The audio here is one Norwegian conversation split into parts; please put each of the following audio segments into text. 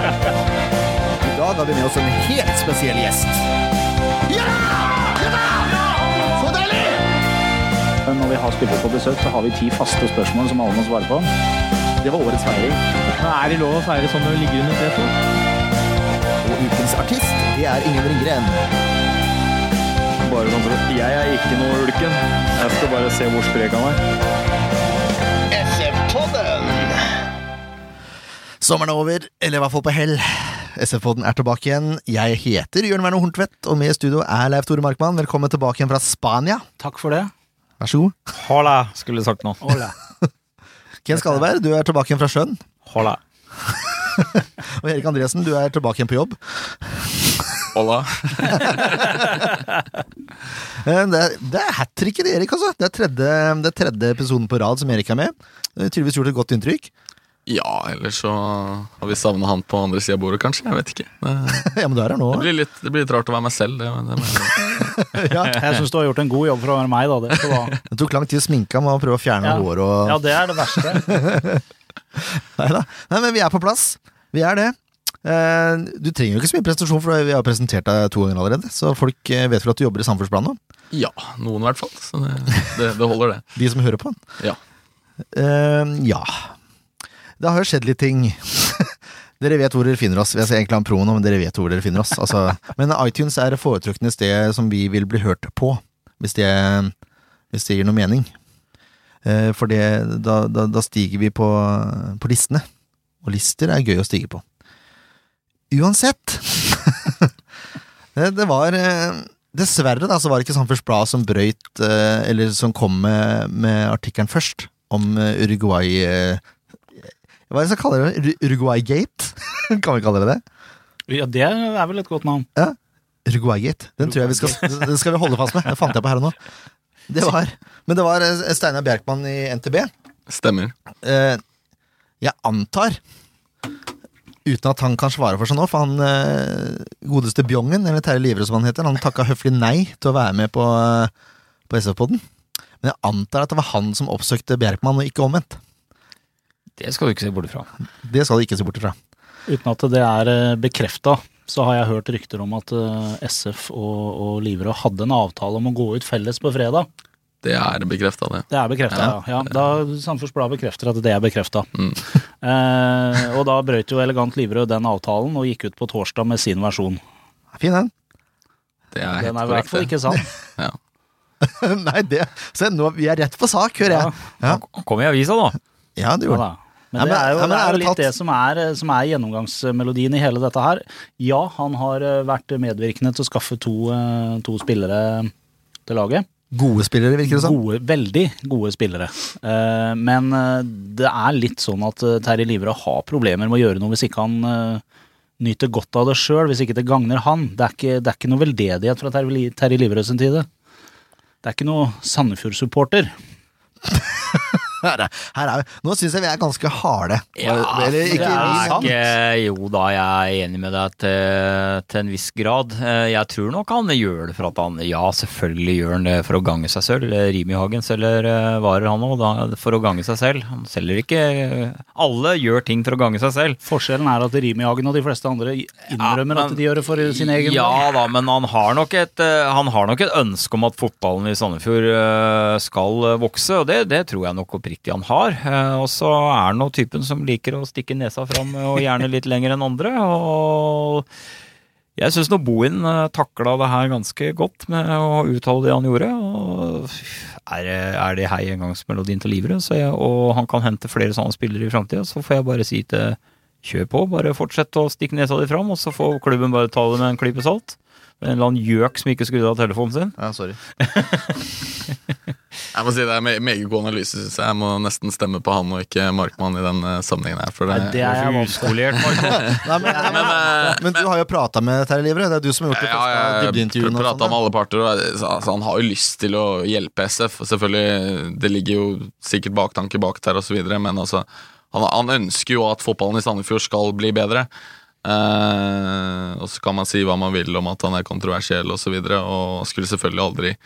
I dag har vi med oss en helt spesiell gjest. Når vi har spillere på besøk, så har vi ti faste spørsmål liksom som alle må svare på. Det var årets feiring. Er det lov å feire sånn når du ligger under tre for? Og ukens artist, det er Ingen Ringgren. Bare sånn for at Jeg er ikke noe ulken. Jeg skal bare se hvor sprek han er. Sommeren er over, eller i hvert fall på hell. SF-podden er tilbake igjen. Jeg heter Jørn Werner Horntvedt, og med i studio er Leif Tore Markmann. Velkommen tilbake igjen fra Spania. Takk for det. Vær så god. Hola, skulle jeg sagt nå. Ken Skalleberg, du er tilbake igjen fra sjøen. Hola. Og Erik Andresen, du er tilbake igjen på jobb. Hola. Eh, Det er, det er hat tricket til Erik, altså. Det er, tredje, det er tredje episoden på rad som Erik er med. Det har Tydeligvis gjort et godt inntrykk. Ja, ellers så har vi savna han på andre sida av bordet, kanskje. Jeg vet ikke. Det, Ja, men du er her nå. det, blir, litt, det blir litt rart å være meg selv. Det, det, må jeg si. Ja. Jeg syns du har gjort en god jobb for å være meg, da. Det, skal du ha. Det tok lang tid å sminke ham og prøve å fjerne Ja. hår og ja, det er det verste. Neida. Nei, men vi er på plass. Vi er det. Eh, Du trenger jo ikke så mye presentasjon, for vi har presentert deg to ganger allerede. Så folk eh, vet vel at du jobber i Samferdselsplanen nå. ja, noen i hvert fall. Så det, det, det holder, det. De som hører på. Ja. Eh, ja. Det har jo skjedd litt ting. dere vet hvor dere finner oss. Jeg skal egentlig ha en pro nå, men dere vet hvor dere finner oss. Altså, men iTunes er det foretrukne sted som vi vil bli hørt på, hvis det, hvis det gir noe mening. Eh, for det, da, da, da stiger vi på, på listene. Og lister er gøy å stige på. Uansett Det, det var eh, Dessverre da, så var det ikke Samfunns Blad som brøyt, eh, eller som kom med, med artikkelen først, om eh, Uruguay eh, Hva er det som kaller det? Ur- Uruguay-gate? kan vi kalle det det? Ja, det er vel et godt navn. Uruguay-gate. Den tror jeg vi skal, den skal vi holde fast med. Det fant jeg på her og nå. Det var, men det var eh, Steinar Bjerkmann i NTB. Stemmer. Eh, jeg antar Uten at han kan svare for seg nå, for han eh, godeste Bjongen, eller Terje Livre som han heter, han takka høflig nei til å være med på, eh, på SV-podden. Men jeg antar at det var han som oppsøkte Bjerkmann, og ikke omvendt. Det skal du ikke se bort fra. Det skal du ikke se bort ifra. Uten at det er bekrefta, så har jeg hørt rykter om at eh, SF og, og Livre hadde en avtale om å gå ut felles på fredag. Det er bekrefta, det. Det er bekrefta, ja. ja. Da Sandefjords Blad bekrefter at det er bekrefta. Mm. Eh, og da brøt jo Elegant Livrød den avtalen og gikk ut på torsdag med sin versjon. Fin den. Det Den er helt er i hvert korrekt. fall det. ikke sann. Ja. nei, det Se, nå, vi er rett på sak, hører jeg. Han kom i avisa, da. Ja, du Ja, gjorde det. da. Men Ja, det men- er ja, jo, men er det er jo det litt tatt- det som er, som er gjennomgangsmelodien i hele dette her. Ja, han har eh, vært medvirkende til å skaffe to, eh, to spillere til laget. Gode spillere, virker det som. Gode, veldig gode spillere. Eh, Men eh, det er litt sånn at eh, Terje Livre har problemer med å gjøre noe hvis ikke han eh, nyter godt av det sjøl, hvis ikke det gagner han. Det er ikke, det er ikke noe veldedighet fra Terje Li- Terje Livre sin side. Det er ikke noe Sandefjord-supporter. Her er, her er vi. Nå syns jeg vi er ganske harde. Eller det ikke er vi, jo han. ikke- Eh, Jo da, jeg er enig med deg til, til en viss grad. Eh, Jeg tror nok han gjør det for at han Ja, selvfølgelig gjør han det for å gange seg selv. Eh, Rimi Hagen selger eh, varer, han òg, for å gange seg selv. Han selger ikke eh, Alle gjør ting for å gange seg selv. Forskjellen er at Rimi-Hagen og de fleste andre innrømmer Ja, men- at de gjør det for sin egen Ja da, men han har, nok et, eh, han har nok et ønske om at fotballen i Sandefjord eh, skal eh, vokse, og det, det tror jeg nok oppriktig han har. Eh, Og så er han jo typen som liker å stikke nesa fram, eh, og gjerne litt lenger enn andre. og... Jeg syns Bohin takla det her ganske godt med å uttale det han gjorde. og Er, det- er det hei engangsmelodien til Livre, så jeg, og han kan hente flere sånne spillere i framtida, så får jeg bare si til kjør på. Bare fortsett å stikke nesa di fram, og så får klubben bare ta det med en klype salt. Med en eller annen gjøk som ikke skrudde av telefonen sin. Ja, sorry. Jeg må si det er me- meget god analyse, syns jeg. Jeg må nesten stemme på han og ikke Markmann i den eh, sammenhengen her. For det, Nei, det er jeg vant til. Uskolert, Marco. Nei, men, men, eh, Men du har jo prata med Terje Livre. Det er du som har gjort det Ja, første jeg dybdeintervjuet. og prata sånn, med alle parter, og jeg- altså, han har jo lyst til å hjelpe SF. og Selvfølgelig, Det ligger jo sikkert baktanke bak der, og så videre, men altså, han, han ønsker jo at fotballen i Sandefjord skal bli bedre. Eh, og så kan man si hva man vil om at han er kontroversiell osv., og, så videre, og skulle selvfølgelig aldri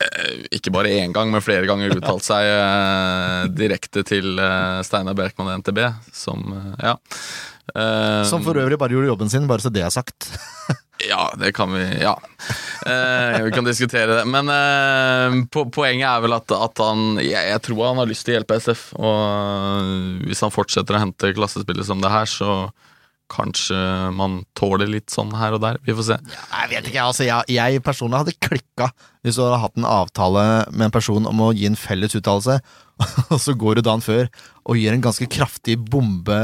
eh, ikke bare én gang, men flere ganger uttalt seg eh, direkte til eh, Steinar Berkman og NTB, som eh, ja. Eh, Som for øvrig bare gjorde jobben sin, bare så det er sagt. ja, det kan vi Ja. Eh, vi kan diskutere det. Men eh, po poenget er vel at, at han jeg, jeg tror han har lyst til å hjelpe SF. Og eh, hvis han fortsetter å hente klassespillere som det her, så kanskje man tåler litt sånn her og der. Vi får se. Jeg vet ikke, altså jeg, jeg personlig hadde klikka hvis du hadde hatt en avtale med en person om å gi en felles uttalelse, og så går du dagen før og gir en ganske kraftig bombe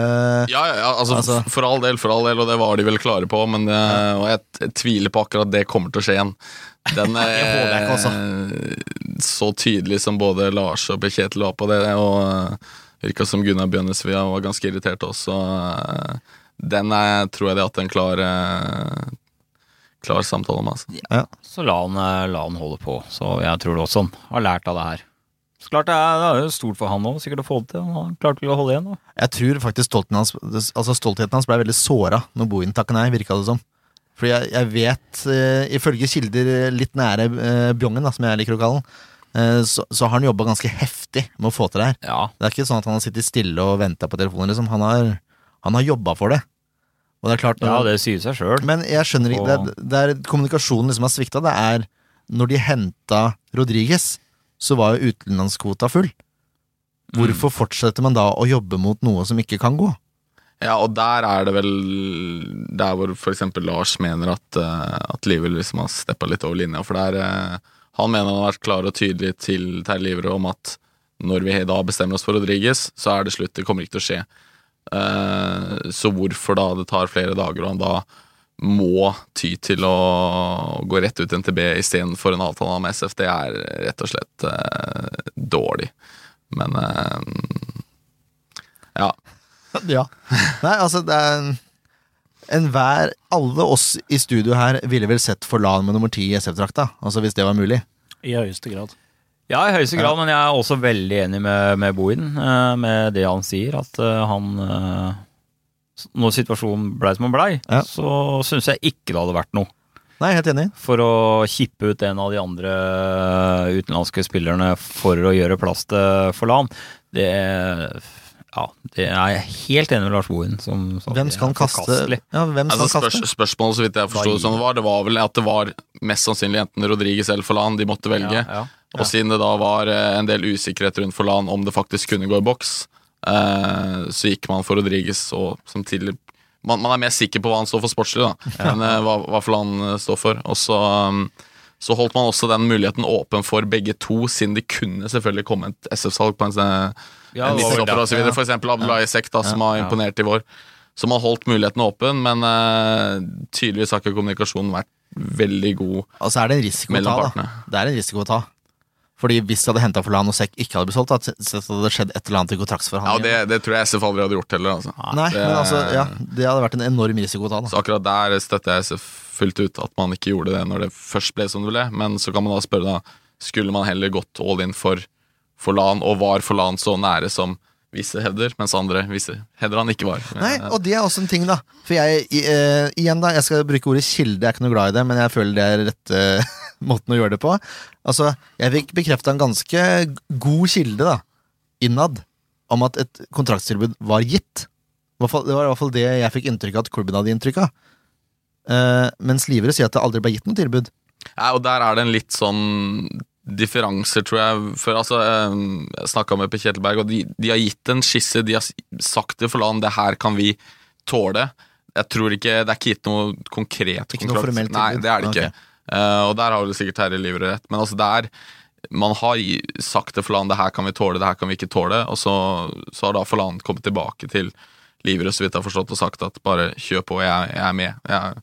Ja, ja, ja altså, Altså- f- for all del, for all del, og det var de vel klare på, men det, og jeg, t- tviler på akkurat det kommer til å skje igjen. Den håper jeg ikke, altså. eh, så tydelig som både Lars og Kjetil var på det, og eh, virka som Gunnar Bjønnesvia var ganske irritert også. eh, Den er, tror jeg de har hatt en klar, eh, klar samtale om. Altså. Så la han, eh, la han holde på. Så jeg tror det også han har lært av det her. Så klart det er, det er jo stort for han òg, sikkert å få det til. Han har klart å holde igjen. Da. Jeg tror faktisk stoltheten hans, altså stoltheten hans ble veldig såra når Bohin takket nei, virka det som. Fordi jeg, jeg vet, eh, ifølge kilder litt nære eh, Bjongen, da, som jeg liker å kalle han, eh, så, så har han jobba ganske heftig med å få til det her. Ja, Det er ikke sånn at han har sittet stille og venta på telefonen. Liksom. Han har, han har jobba for det. Og det er klart ja det sier seg sjøl. Men jeg skjønner ikke det, er- det er kommunikasjonen liksom har svikta. Det er når de henta Rodriges, så var jo utenlandskvota full. Hvorfor fortsetter man da å jobbe mot noe som ikke kan gå? Ja, og der er det vel der hvor for eksempel Lars mener at, eh, at Liver liksom har steppa litt over linja. For der eh, Han mener han har vært klar og tydelig til Terje Livre om at når vi da bestemmer oss for Rodriges, så er det slutt. Det kommer ikke til å skje. Eh, Så hvorfor da det tar flere dager, og han da må ty til å gå rett ut NTB istedenfor en avtale med SF, det er rett og slett eh, dårlig. Men eh, ja. Ja. Nei, altså, det er Enhver Alle oss i studio her ville vel sett Forlan med nummer ti i SF-drakta, altså hvis det var mulig. I høyeste grad. Ja, i høyeste grad, men jeg er også veldig enig med, med Bohin, eh, med det han sier, at eh, han eh, s- Når situasjonen blei som han blei, Ja. så syns jeg ikke det hadde vært noe Nei, helt enig. for å kippe ut en av de andre eh, utenlandske spillerne for å gjøre plass til Forlan. Det ja, det er jeg helt enig med Lars Bohin som sa at Hvem det skal er han kaste? forkastelig. Ja, hvem skal Altså, han spørs, kaste? spørsmålet, så vidt jeg forsto det sånn var, det var vel at det var mest sannsynlig enten Rodriguez eller Forlan de måtte velge. Ja, ja. Og siden det da var eh, en del usikkerhet rundt Forlan om det faktisk kunne gå i boks, eh, så gikk man for Rodriguez og som tidligere man, man er mer sikker på hva han står for sportslig, da, enn eh, hva, hva Forlan eh, står for. Og så, um, så holdt man også den muligheten åpen for begge to, siden det kunne selvfølgelig komme et SF-salg på en, eh, Ja, en viss det var vel stopper og det. så videre. For eksempel Abdullah Isek, da, som har imponert i vår. Som har holdt muligheten åpen, men eh, tydeligvis har ikke kommunikasjonen vært veldig god. Og så er det en risiko å Mellom ta, da. partene. Det er en risiko å ta. Fordi hvis de hadde henta Forlan og Sekk ikke hadde blitt solgt, hadde det hadde skjedd et eller annet i Ja, kontraktsforhandlingen. det, det tror jeg SF aldri hadde gjort heller. Altså. Nei, det- men altså, ja, det hadde vært en enorm risiko å ta, da. Så akkurat der støtter jeg SF fullt ut, at man ikke gjorde det når det først ble som det ble. Men så kan man da spørre, da, skulle man heller gått all in for Forlan, og var Forlan så nære som visse hevder, mens andre visse hevder han ikke var? Nei, og det er også en ting, da. For jeg, i- eh, igjen, da, jeg skal bruke ordet kilde, jeg er ikke noe glad i det, men jeg føler det er rette måten å gjøre det på. Altså, jeg fikk bekrefta en ganske god kilde, da, innad, om at et kontraktstilbud var gitt. I hvert fall- Det var i hvert fall det jeg fikk inntrykk av at klubben hadde inntrykk av. Eh, mens Livere sier at det aldri ble gitt noe tilbud. Ja, og der er det en litt sånn differanser, tror jeg. For altså, eh, jeg snakka med Per Kjetilberg, og de, de har gitt en skisse. De har s- sagt til Forlan det her kan vi tåle. Jeg tror ikke, Det er ikke gitt noe konkret Ikke noe formelt tilbud? Nei, det er det ikke. Ok. Eh, og der har vel sikkert Terje Livre rett. Men altså, der man har i- sagt til Forlan det her kan vi tåle, det her kan vi ikke tåle. Og så, så har da Forlan kommet tilbake til Livre, så vidt jeg har forstått, og sagt at bare kjør på, jeg, jeg er med. Jeg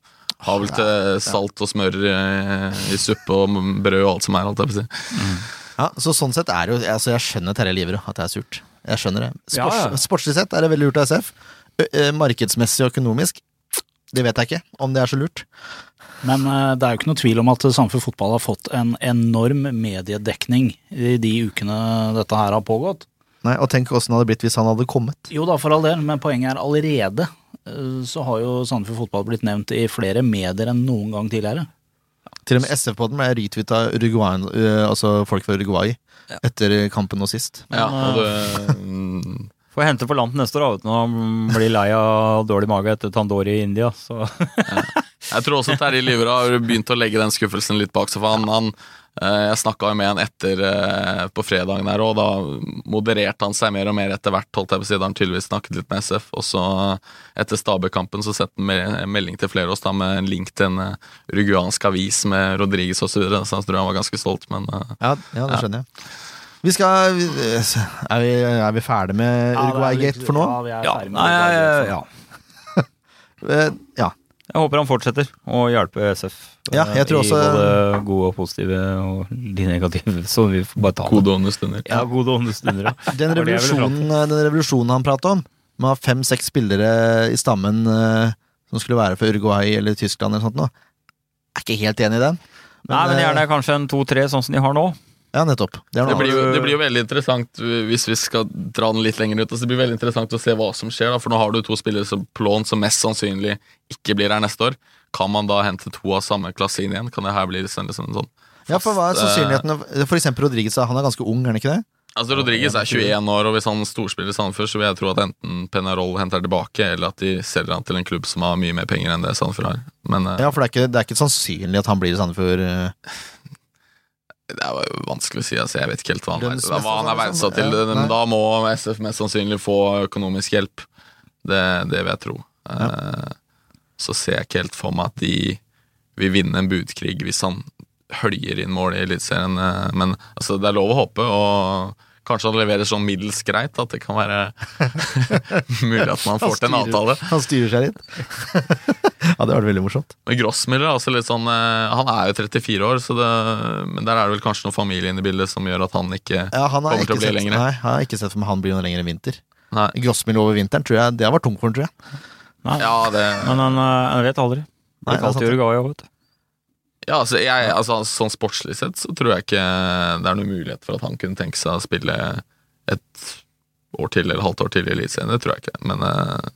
har vel til salt og smør eh, i suppe og m- brød og alt som er, holdt jeg på å si. Ja, så sånn sett er det jo altså Jeg skjønner Terje Liverød at det er surt. Jeg skjønner det. Sports, Ja, ja. Sportslig sett er det veldig lurt av SF. Ø- ø, Markedsmessig og økonomisk, det vet jeg ikke om det er så lurt. Men eh, det er jo ikke noe tvil om at Samfunn Fotball har fått en enorm mediedekning i de ukene dette her har pågått. Nei, Og tenk åssen det hadde blitt hvis han hadde kommet. Jo da, for all del, men poenget er allerede eh, så har jo Sandefjord Fotball blitt nevnt i flere medier enn noen gang tidligere. Til og med SF-podden ble retweeta Uruguayen, øh, altså folk fra Uruguay etter kampen nå sist. Ja, og det, mm, Får hente på landet neste år, da, vet du, når han blir lei av dårlig mage etter Tandori i India. Så. jeg tror også Terje Livra har begynt å legge den skuffelsen litt bak seg. For han, han, eh, jeg snakka jo med han etter eh, på fredagen her, og da modererte han seg mer og mer etter hvert. Holdt jeg på å si, da har han tydeligvis snakket litt med SF. Og så eh, etter Stabøk-kampen så sendte han me- en melding til flere av oss da med en link til en eh, uruguansk avis med Rodriguez osv., så, videre, så jeg tror han var ganske stolt, men eh, Ja, ja det skjønner jeg. Vi skal vi- Er vi, er vi ferdige med Uruguay-gate for nå? Ja, vi er Ja, ferdig med liksom. nei, Uruguay-gate. ja. Eh, Ja. Jeg håper han fortsetter å hjelpe SF Ja, jeg tror eh, også- i både gode og positive og de negative. Så vi får bare ta det. gode åndestunder. Ja, gode ånde stunder, ja. Den Det var det jeg ville fram revolusjonen, eh, den revolusjonen han pratet om, med å ha fem-seks spillere i stammen eh, som skulle være fra Uruguay eller Tyskland eller sånt noe, er ikke helt enig i den. Nei, men eh, gjerne kanskje en to-tre, sånn som de har nå. Ja, nettopp. Det er Det noe blir, annet. jo, det blir jo veldig interessant hvis vi skal dra den litt lenger ut. Altså, det blir veldig interessant å se hva som skjer, da, for nå har du to spillere som på lån som mest sannsynlig ikke blir her neste år. Kan man da hente to av samme klasse inn igjen? Kan det her bli liksom liksom en sånn Ja, for hva er fast, eh, sannsynligheten For eksempel Rodriguez, han er ganske ung, er han ikke det? Altså Rodriguez er 21 år, og hvis han storspiller Sandefjord, så vil jeg tro at enten Penarol henter tilbake, eller at de selger han til en klubb som har mye mer penger enn det Sandefjord har. Men eh, Ja, for det er ikke, det er ikke sannsynlig at han blir i Sandefjord. eh. det er jo vanskelig å si. Altså, jeg vet ikke helt hva han er, Lønnsmessig, hva han er liksom. verdsatt til. Ja, nei. Men da må SF mest sannsynlig få økonomisk hjelp. Det, det vil jeg tro. Eh, Så ser jeg ikke helt for meg at de vil vinne en budkrig hvis han høljer inn mål i Eliteserien. eh, Men altså, det er lov å håpe, og kanskje han leverer sånn middels greit at det kan være mulig at man får til en avtale. Han styrer seg litt. ja, det var veldig morsomt. Men Grossmiller er også litt sånn eh, Han er jo 34 år, så det, men der er det vel kanskje noe familie inne i bildet som gjør at han ikke Ja, han har Kommer til ikke å bli sett, lengre. nei, jeg har ikke sett for meg han blir noe lenger enn vinter. Nei. Grossmill over vinteren, tror jeg. Det var tungt for ham, tror jeg. Ja, det, Men han, eh, han vet aldri. Nei, Blir det er kalt sant. i Uruguay òg, vet du. ja altså, jeg, altså, sånn sportslig sett så tror jeg ikke det er noen mulighet for at han kunne tenke seg å spille et år til eller halvt år til i Eliteserien. Det tror jeg ikke. Men eh,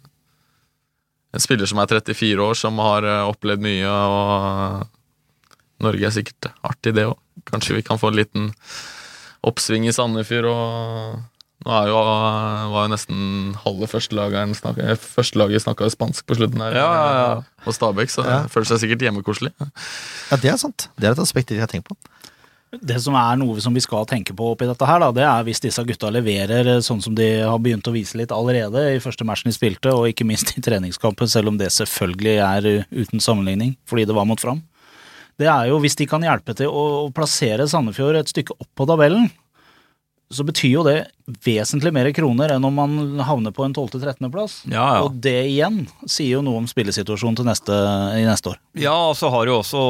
en spiller som er 34 år, som har eh, opplevd mye, og Norge er sikkert artig, det òg. Kanskje vi kan få en liten oppsving i Sandefjord og nå er jo, eh, var jo nesten halve førstelageren snakka, førstelaget snakka spansk på slutten her. Ja, ja, ja. Og Stabæk, så det Ja. føler seg sikkert hjemmekoselig. Ja, det er sant. Det er et aspekt jeg ikke har tenkt på. Det som er noe som vi skal tenke på oppi dette her, da, det er hvis disse gutta leverer eh, sånn som de har begynt å vise litt allerede i første matchen de spilte, og ikke minst i treningskampen, selv om det selvfølgelig er eh, uten sammenligning, fordi det var mot Fram. Det er jo hvis de kan hjelpe til å, å plassere Sandefjord et stykke opp på tabellen, så betyr jo det vesentlig mer kroner enn om man havner på en 12.-13. plass. Ja, ja. Og det igjen sier jo noe om spillesituasjonen til neste, i neste år. Ja, og så har jo også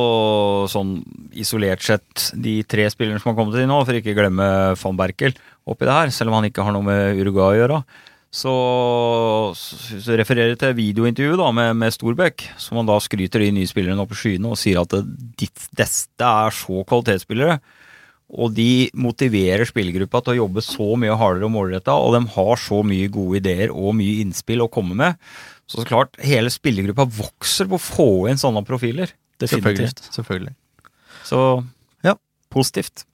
sånn isolert sett de tre spillerne som har kommet inn nå, for ikke glemme van Berkel oppi det her, selv om han ikke har noe med Uruguay å gjøre. Så, så refererer jeg til videointervjuet da med, med Storbekk, som han da skryter de nye spillerne opp i skyene og sier at det, ditt, dette er så kvalitetsspillere. Og de motiverer spillergruppa til å jobbe så mye hardere og målretta, og de har så mye gode ideer og mye innspill å komme med. Så så klart, hele spillergruppa vokser på å få inn sånne profiler. Definitivt. Selvfølgelig. Selvfølgelig. Så Ja. positivt.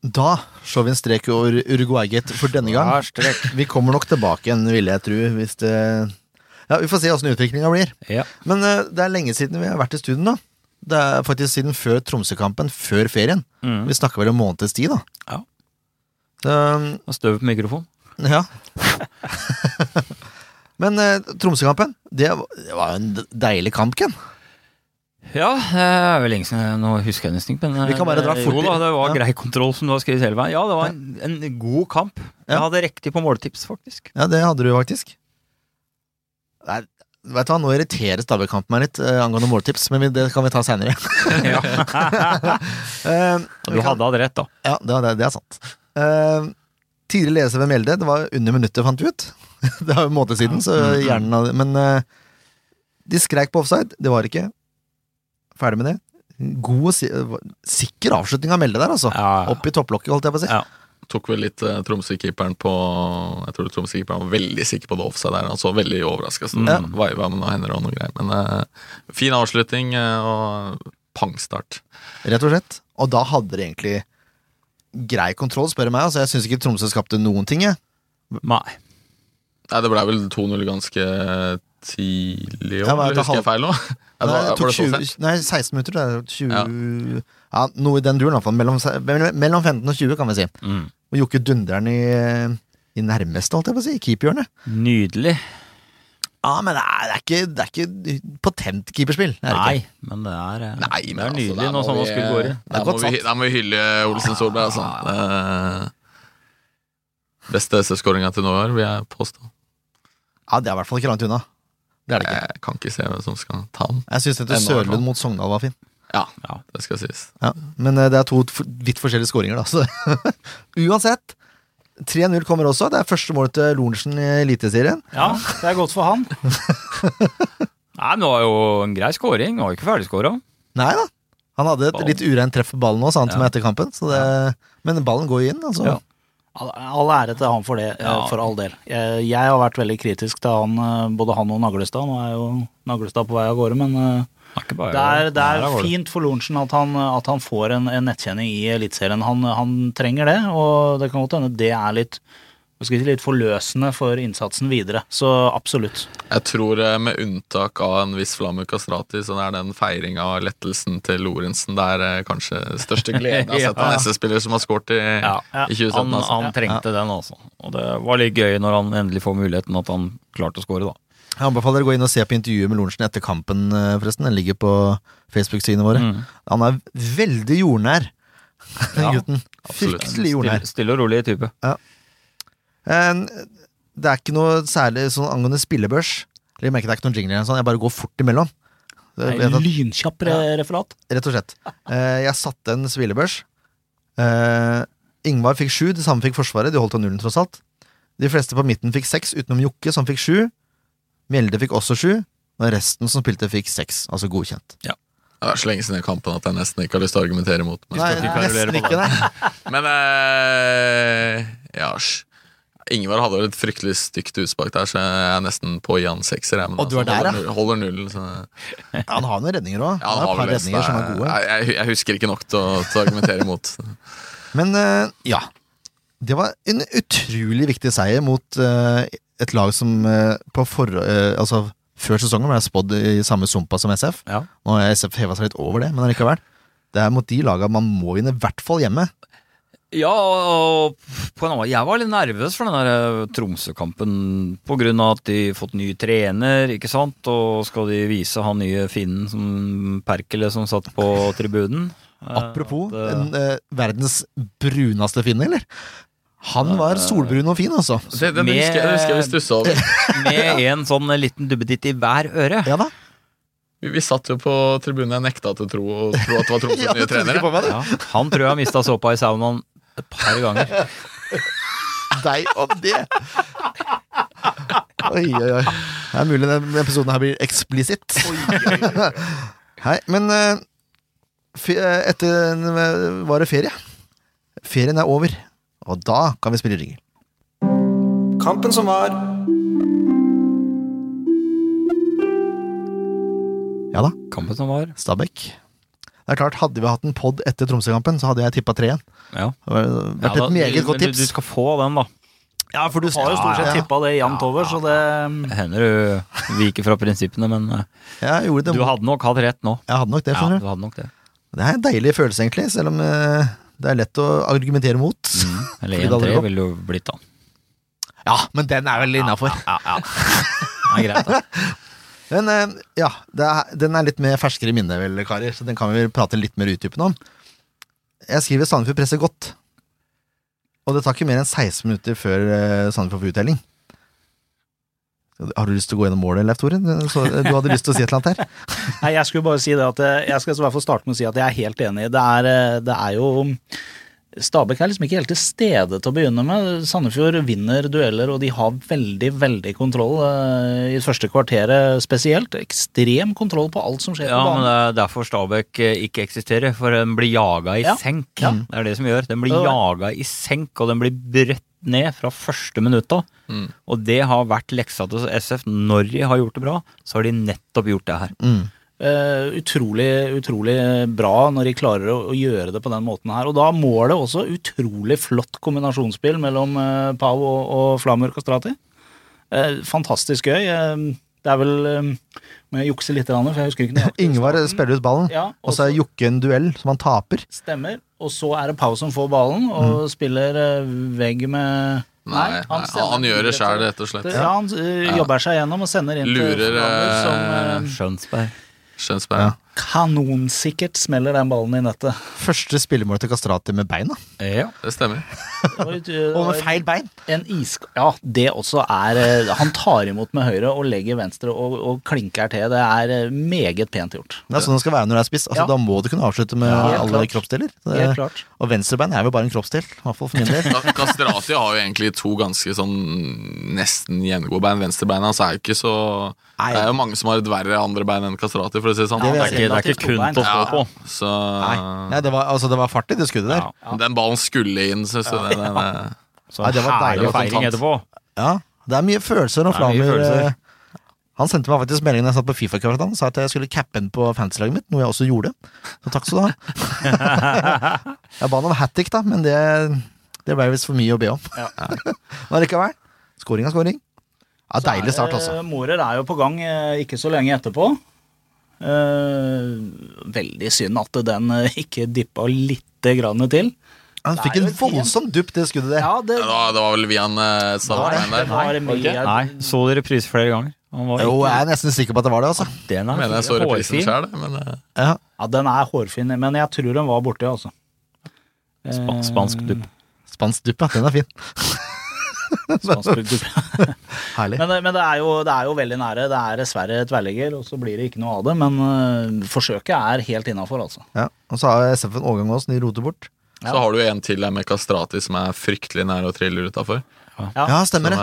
Da slår vi en strek over Uruguay-gate for denne gang. Ja, strek. Vi kommer nok tilbake igjen, vil jeg tro. Hvis det ja, vi får se åssen utviklinga blir. Ja. Men eh, det er lenge siden vi har vært i studio nå. Det er faktisk siden før Tromsø-kampen, før ferien. Mm. Vi snakker vel en måneds tid, da. Ja. Så, um, Og Støv på mikrofon. ja. Men eh, Tromsø-kampen, det var det var en deilig kamp, Ken. Ja, det er vel lenge siden Nå husker jeg nesten ikke, men eh, Vi kan bare dra fort Jo i- da, det var Ja. grei kontroll, som du har skrevet hele veien. Ja, det var en, en god kamp. Jeg Ja. hadde riktig på måltips, faktisk. Ja, det hadde du faktisk. Nei, vet du hva, Nå irriterer Stabæk-kampen meg litt eh, angående måltips, men vi, det kan vi ta seinere. ja. Du du hadde hatt rett, da. Eh, Ja, det, det, det er sant. Eh, tidligere leser ved Mjelde, det var under minuttet, fant vi ut. det er jo en måned siden, Mm, så hjernen hadde Men eh, de skreik på offside, det var ikke. Ferdig med det. God og si sikker avslutning av Mjelde der, altså. Ja. Opp i topplokket, holdt jeg på å si. Ja. Tok vel litt eh, Tromsø-keeperen på Jeg tror Tromsø-keeperen var veldig sikker på det offside der. Han så Mm. veldig overraska ut. Ja. Veiva med noen hender og noe greier. Men eh, fin avslutning, eh, og pangstart. Rett og slett. Og da hadde de egentlig grei kontroll, spør du meg. Altså, jeg syns ikke Tromsø skapte noen ting, jeg. Nei. Nei, det ble vel 2-0 ganske tidlig, Ja, men eller etter husker jeg feil nå? Ja, det Nei, det Altså, var- var tok det sånn så 20, sent? nei, 16 minutter. Det er 20 ja. Ja. Noe i den duren, i hvert fall. Mellom, se- mellom mellom 15 og 20, kan vi si. Mm. Og Jokke dundrer den i, i nærmeste, holdt jeg på å si. i Keeperhjørnet. Nydelig. Ja, men det er, det er, ikke, det er ikke potent keeperspill. Det er det Nei, ikke. men det er, eh, Nei, det men er altså, nydelig der må når sånne vi- skudd går i. Det er Der må, godt vi, satt. der må vi hylle Olsen Solberg, altså. Det- Beste SF-skåringa til nå i år, vil jeg påstå. Ja, det er i hvert fall ikke langt unna. Det er det ikke. Jeg kan ikke se hvem som skal ta den. Jeg syns dette Ennå, i hvert fall. Sørlund mot Sogndal var fin. Ja, Ja. det skal sies. Ja, men eh, det er to f- vidt forskjellige skåringer, da. Så. Uansett. 3-0 kommer også. Det er første målet til Lorentzen i Eliteserien. Ja, det er godt for han. Nei, men det var jo en grei scoring. Det Var jo ikke ferdigskåra. Nei da. Han hadde et Ballen. litt ureint treff på ballen òg, sa han til Ja. meg etter kampen. Så det, men ballen går jo inn, altså. Ja. All- All ære til han for det, eh, Ja. for all del. Jeg, jeg har vært veldig kritisk til han, eh, både han og Naglestad. Nå er jo Naglestad på vei av gårde, men eh, det er, det er fint for Lorentzen at, han- at han får en, en nettkjenning i Eliteserien. Han, han trenger det, og det kan godt hende det er litt hva skal jeg si, litt forløsende for innsatsen videre. Så absolutt. Jeg tror eh, med unntak av en viss Flamu Kastrati, så det er den feiringa av lettelsen til Lorentzen det er eh, kanskje største gleden jeg har sett av en SS-spiller som har skåret i, Ja. i 2017. Han, altså. han trengte den, altså. Og det var litt gøy når han endelig får muligheten, at han klarte å score, da. Jeg anbefaler dere å gå inn og se på intervjuet med Lorentzen etter kampen, eh, forresten. Den ligger på Facebook-sidene våre. Mm. Han er veldig jordnær, den Ja, gutten. absolutt. Fryktelig jordnær. Stille, stille og rolig type. En- Det er ikke noe særlig sånn angående spillebørs. Jeg merker det er ikke noen jingler eller noe sånt. Jeg bare går fort imellom. Så jeg Det vet er at- Lynkjapp re- referat. Rett og slett. Eh, jeg satte en spillebørs. Eh, Ingvar fikk sju, det samme fikk Forsvaret. De holdt av nullen, tross alt. De fleste på midten fikk seks, utenom Jokke, som fikk sju. Mjelde fikk også sju. Og resten som spilte, fikk seks. Altså godkjent. Det er så lenge siden den kampen at jeg nesten ikke har lyst til å argumentere imot. Men, Nei, ikke nesten kverulere på ikke, nei. men eh, ja, sj. Ingvar hadde vel et fryktelig stygt utspark der, så jeg er nesten på i han sekser. jeg, Men Og du er altså, der, holder, null- holder nullen. Så. Han har noen redninger òg. Ja, Han har et par vel resten, redninger som er jeg- gode. Jeg, jeg, jeg husker ikke nok til å, til å argumentere imot. Men eh, ja. Det var en utrolig viktig seier mot eh, et lag som eh, på for, eh, altså, før sesongen ble spådd i samme sumpa som SF. Ja. Nå har SF heva seg litt over det, men allikevel. Det er mot de laga man må vinne, i hvert fall hjemme. Ja, og på en annen Jeg var litt nervøs for den der eh, Tromsø-kampen på grunn av at de har fått ny trener, ikke sant, og skal de vise han nye finnen som Perkele som satt på tribunen. Eh, Apropos at, eh, en, eh, verdens bruneste finne, eller? Han var eh, solbrun og fin, altså. Det, det, det husker jeg, det husker jeg vi stussa over. Med en sånn liten duppeditt i hver øre. Ja da. Vi, vi satt jo på tribunen jeg nekta til å tro, og tro at det var Tromsøs Ja, nye det trodde trenere. ikke på meg, du. Ja, han tror jeg har mista såpa i saunaen et par ganger. Deg og det. Oi, oi, oi. Det er mulig denne episoden her blir eksplisitt. Hei, men eh, fe- eh, etter eh, var det ferie. Ferien er over, og da kan vi spille ringer. Kampen som var. Ja da, Kampen som var. Stabæk. Det er klart, Hadde vi hatt en pod etter Tromsø-kampen, så hadde jeg tippa tre igjen. Ja. Det var- det vært Ja, da- et meget godt men du, tips. du skal få den, da. ja, for du Har jo stort sett ja, tippa det jevnt over, så det mm. Det hender du viker fra prinsippene, men eh, ja, jeg gjorde det. du hadde nok hatt rett nå. Jeg hadde nok det. Ja, skjønner du hadde nok det. du. Det er en deilig følelse, egentlig, selv om eh, det er lett å argumentere mot. Mm. Eller Fordi det hadde 1-3 gått. ville jo blitt, da. Ja, men den er vel innafor. Ja, ja. Det er greit, da. Men eh, ja, det er, den er litt mer ferskere i minnet, vel, karer. Så den kan vi vel prate litt mer utdypende om. Jeg skriver Sandefjord presser godt. Og det tar ikke mer enn 16 minutter før eh, Sandefjord får uttelling. Har du lyst til å gå gjennom målet, Leif Tore? Så, eh, Du hadde lyst til å si et eller annet her? Nei, jeg skulle bare si det at eh, jeg skal i hvert fall starte med å si at jeg er helt enig. Det er, eh, det er jo Stabæk er liksom ikke helt til stede til å begynne med. Sandefjord vinner dueller, og de har veldig, veldig kontroll eh, i det første kvarteret spesielt. Ekstrem kontroll på alt som skjer Ja, på men banen. det er derfor Stabæk eh, ikke eksisterer, for den blir jaga i Ja, senk. ja. Det er det som gjør. Den blir Ja, det var jaga i senk, og den blir brøtt ned fra første minutt av. Mm. Og det har vært leksa til SF. Når de har gjort det bra, så har de nettopp gjort det her. Mm. eh, utrolig, utrolig bra når de klarer å, å gjøre det på den måten her. Og da må det også utrolig flott kombinasjonsspill mellom eh, Pau og, og Flamur Kastrati. Eh, fantastisk gøy. Eh, det er vel eh, Må jeg jukse litt, grann, for jeg husker ikke nøyaktig. Ingvar spiller ut ballen, Ja, og så er Jokke en duell som han taper. Stemmer. Og så er det Pau som får ballen, og Mm. spiller eh, vegg med Nei, nei, han, sender- gjør det sjæl, rett og slett. Ja, han eh, jobber seg gjennom og sender inn til Lurer, Flamur, eh, som eh, Skjønsberg. Skjønnsberg. Ja. kanonsikkert smeller den ballen i nettet. Første spillemål til Kastrati med beina. Ja. Det stemmer. Det var ut- det Og var med feil bein! En isk... Ja, det også er eh, Han tar imot med høyre og legger venstre og, og klinker til. Det er eh, meget pent gjort. Det er sånn det skal være når det er spiss. Altså, Ja. Da må du kunne avslutte med Ja, helt alle klart. kroppsdeler. Så Helt Det, klart. og venstrebein er jo bare en kroppsdel, i hvert fall for min del. Ka- Kastrati har jo egentlig to ganske sånn nesten jevngode bein. Venstrebeina hans er jo ikke så Nei. Det er jo mange som har et verre andre bein enn Kastrati, for å si det sånn. Det vil Det jeg er ikke, det er ikke kun til å stå på. Ja, så Nei, Nei det, var, altså, det var fart i det skuddet der. Den ballen skulle inn, syns du. Den, den, den, Så Nei, det var herlig deilig feiring kontant. etterpå. Ja, Det er mye følelser når Det er mye Flammer følelser. eh, Han sendte meg faktisk meldingen da jeg satt på Fifa-kvartalet og sa at jeg skulle cappe den på fantasy-laget mitt, noe jeg også gjorde. Så takk skal du ha. jeg ba han om hat trick, da, men det, det ble visst for mye å be om. men allikevel. Scoring er scoring. Ja, deilig start, altså. Eh, Morer er jo på gang eh, ikke så lenge etterpå. Eh, veldig synd at den eh, ikke dippa lite grann til. Han fikk det er en jo fint. voldsom dupp, det skuddet der. Ja, det det, var, det var vel via en eh, stavbein der. var mye Nei, så dere reprise flere ganger? Han var Jo, ikke- jeg er nesten sikker på at det var det, altså. den Mener jeg så reprisen sjøl, men eh, Ja. Ja, den er hårfin, men jeg tror den var borti, altså. Spa eh, spansk dupp. Spansk dupp, ja. Den er fin. Spansk dupp. Herlig. Men, men det, er jo, det er jo veldig nære. Det er dessverre tverrligger, og så blir det ikke noe av det. Men øh, forsøket er helt innafor, altså. Ja. Og så har SF en overgang også, som de roter bort. Ja. så har du jo en til her med Kastrati som er fryktelig nær å trille utafor. Ja, stemmer det.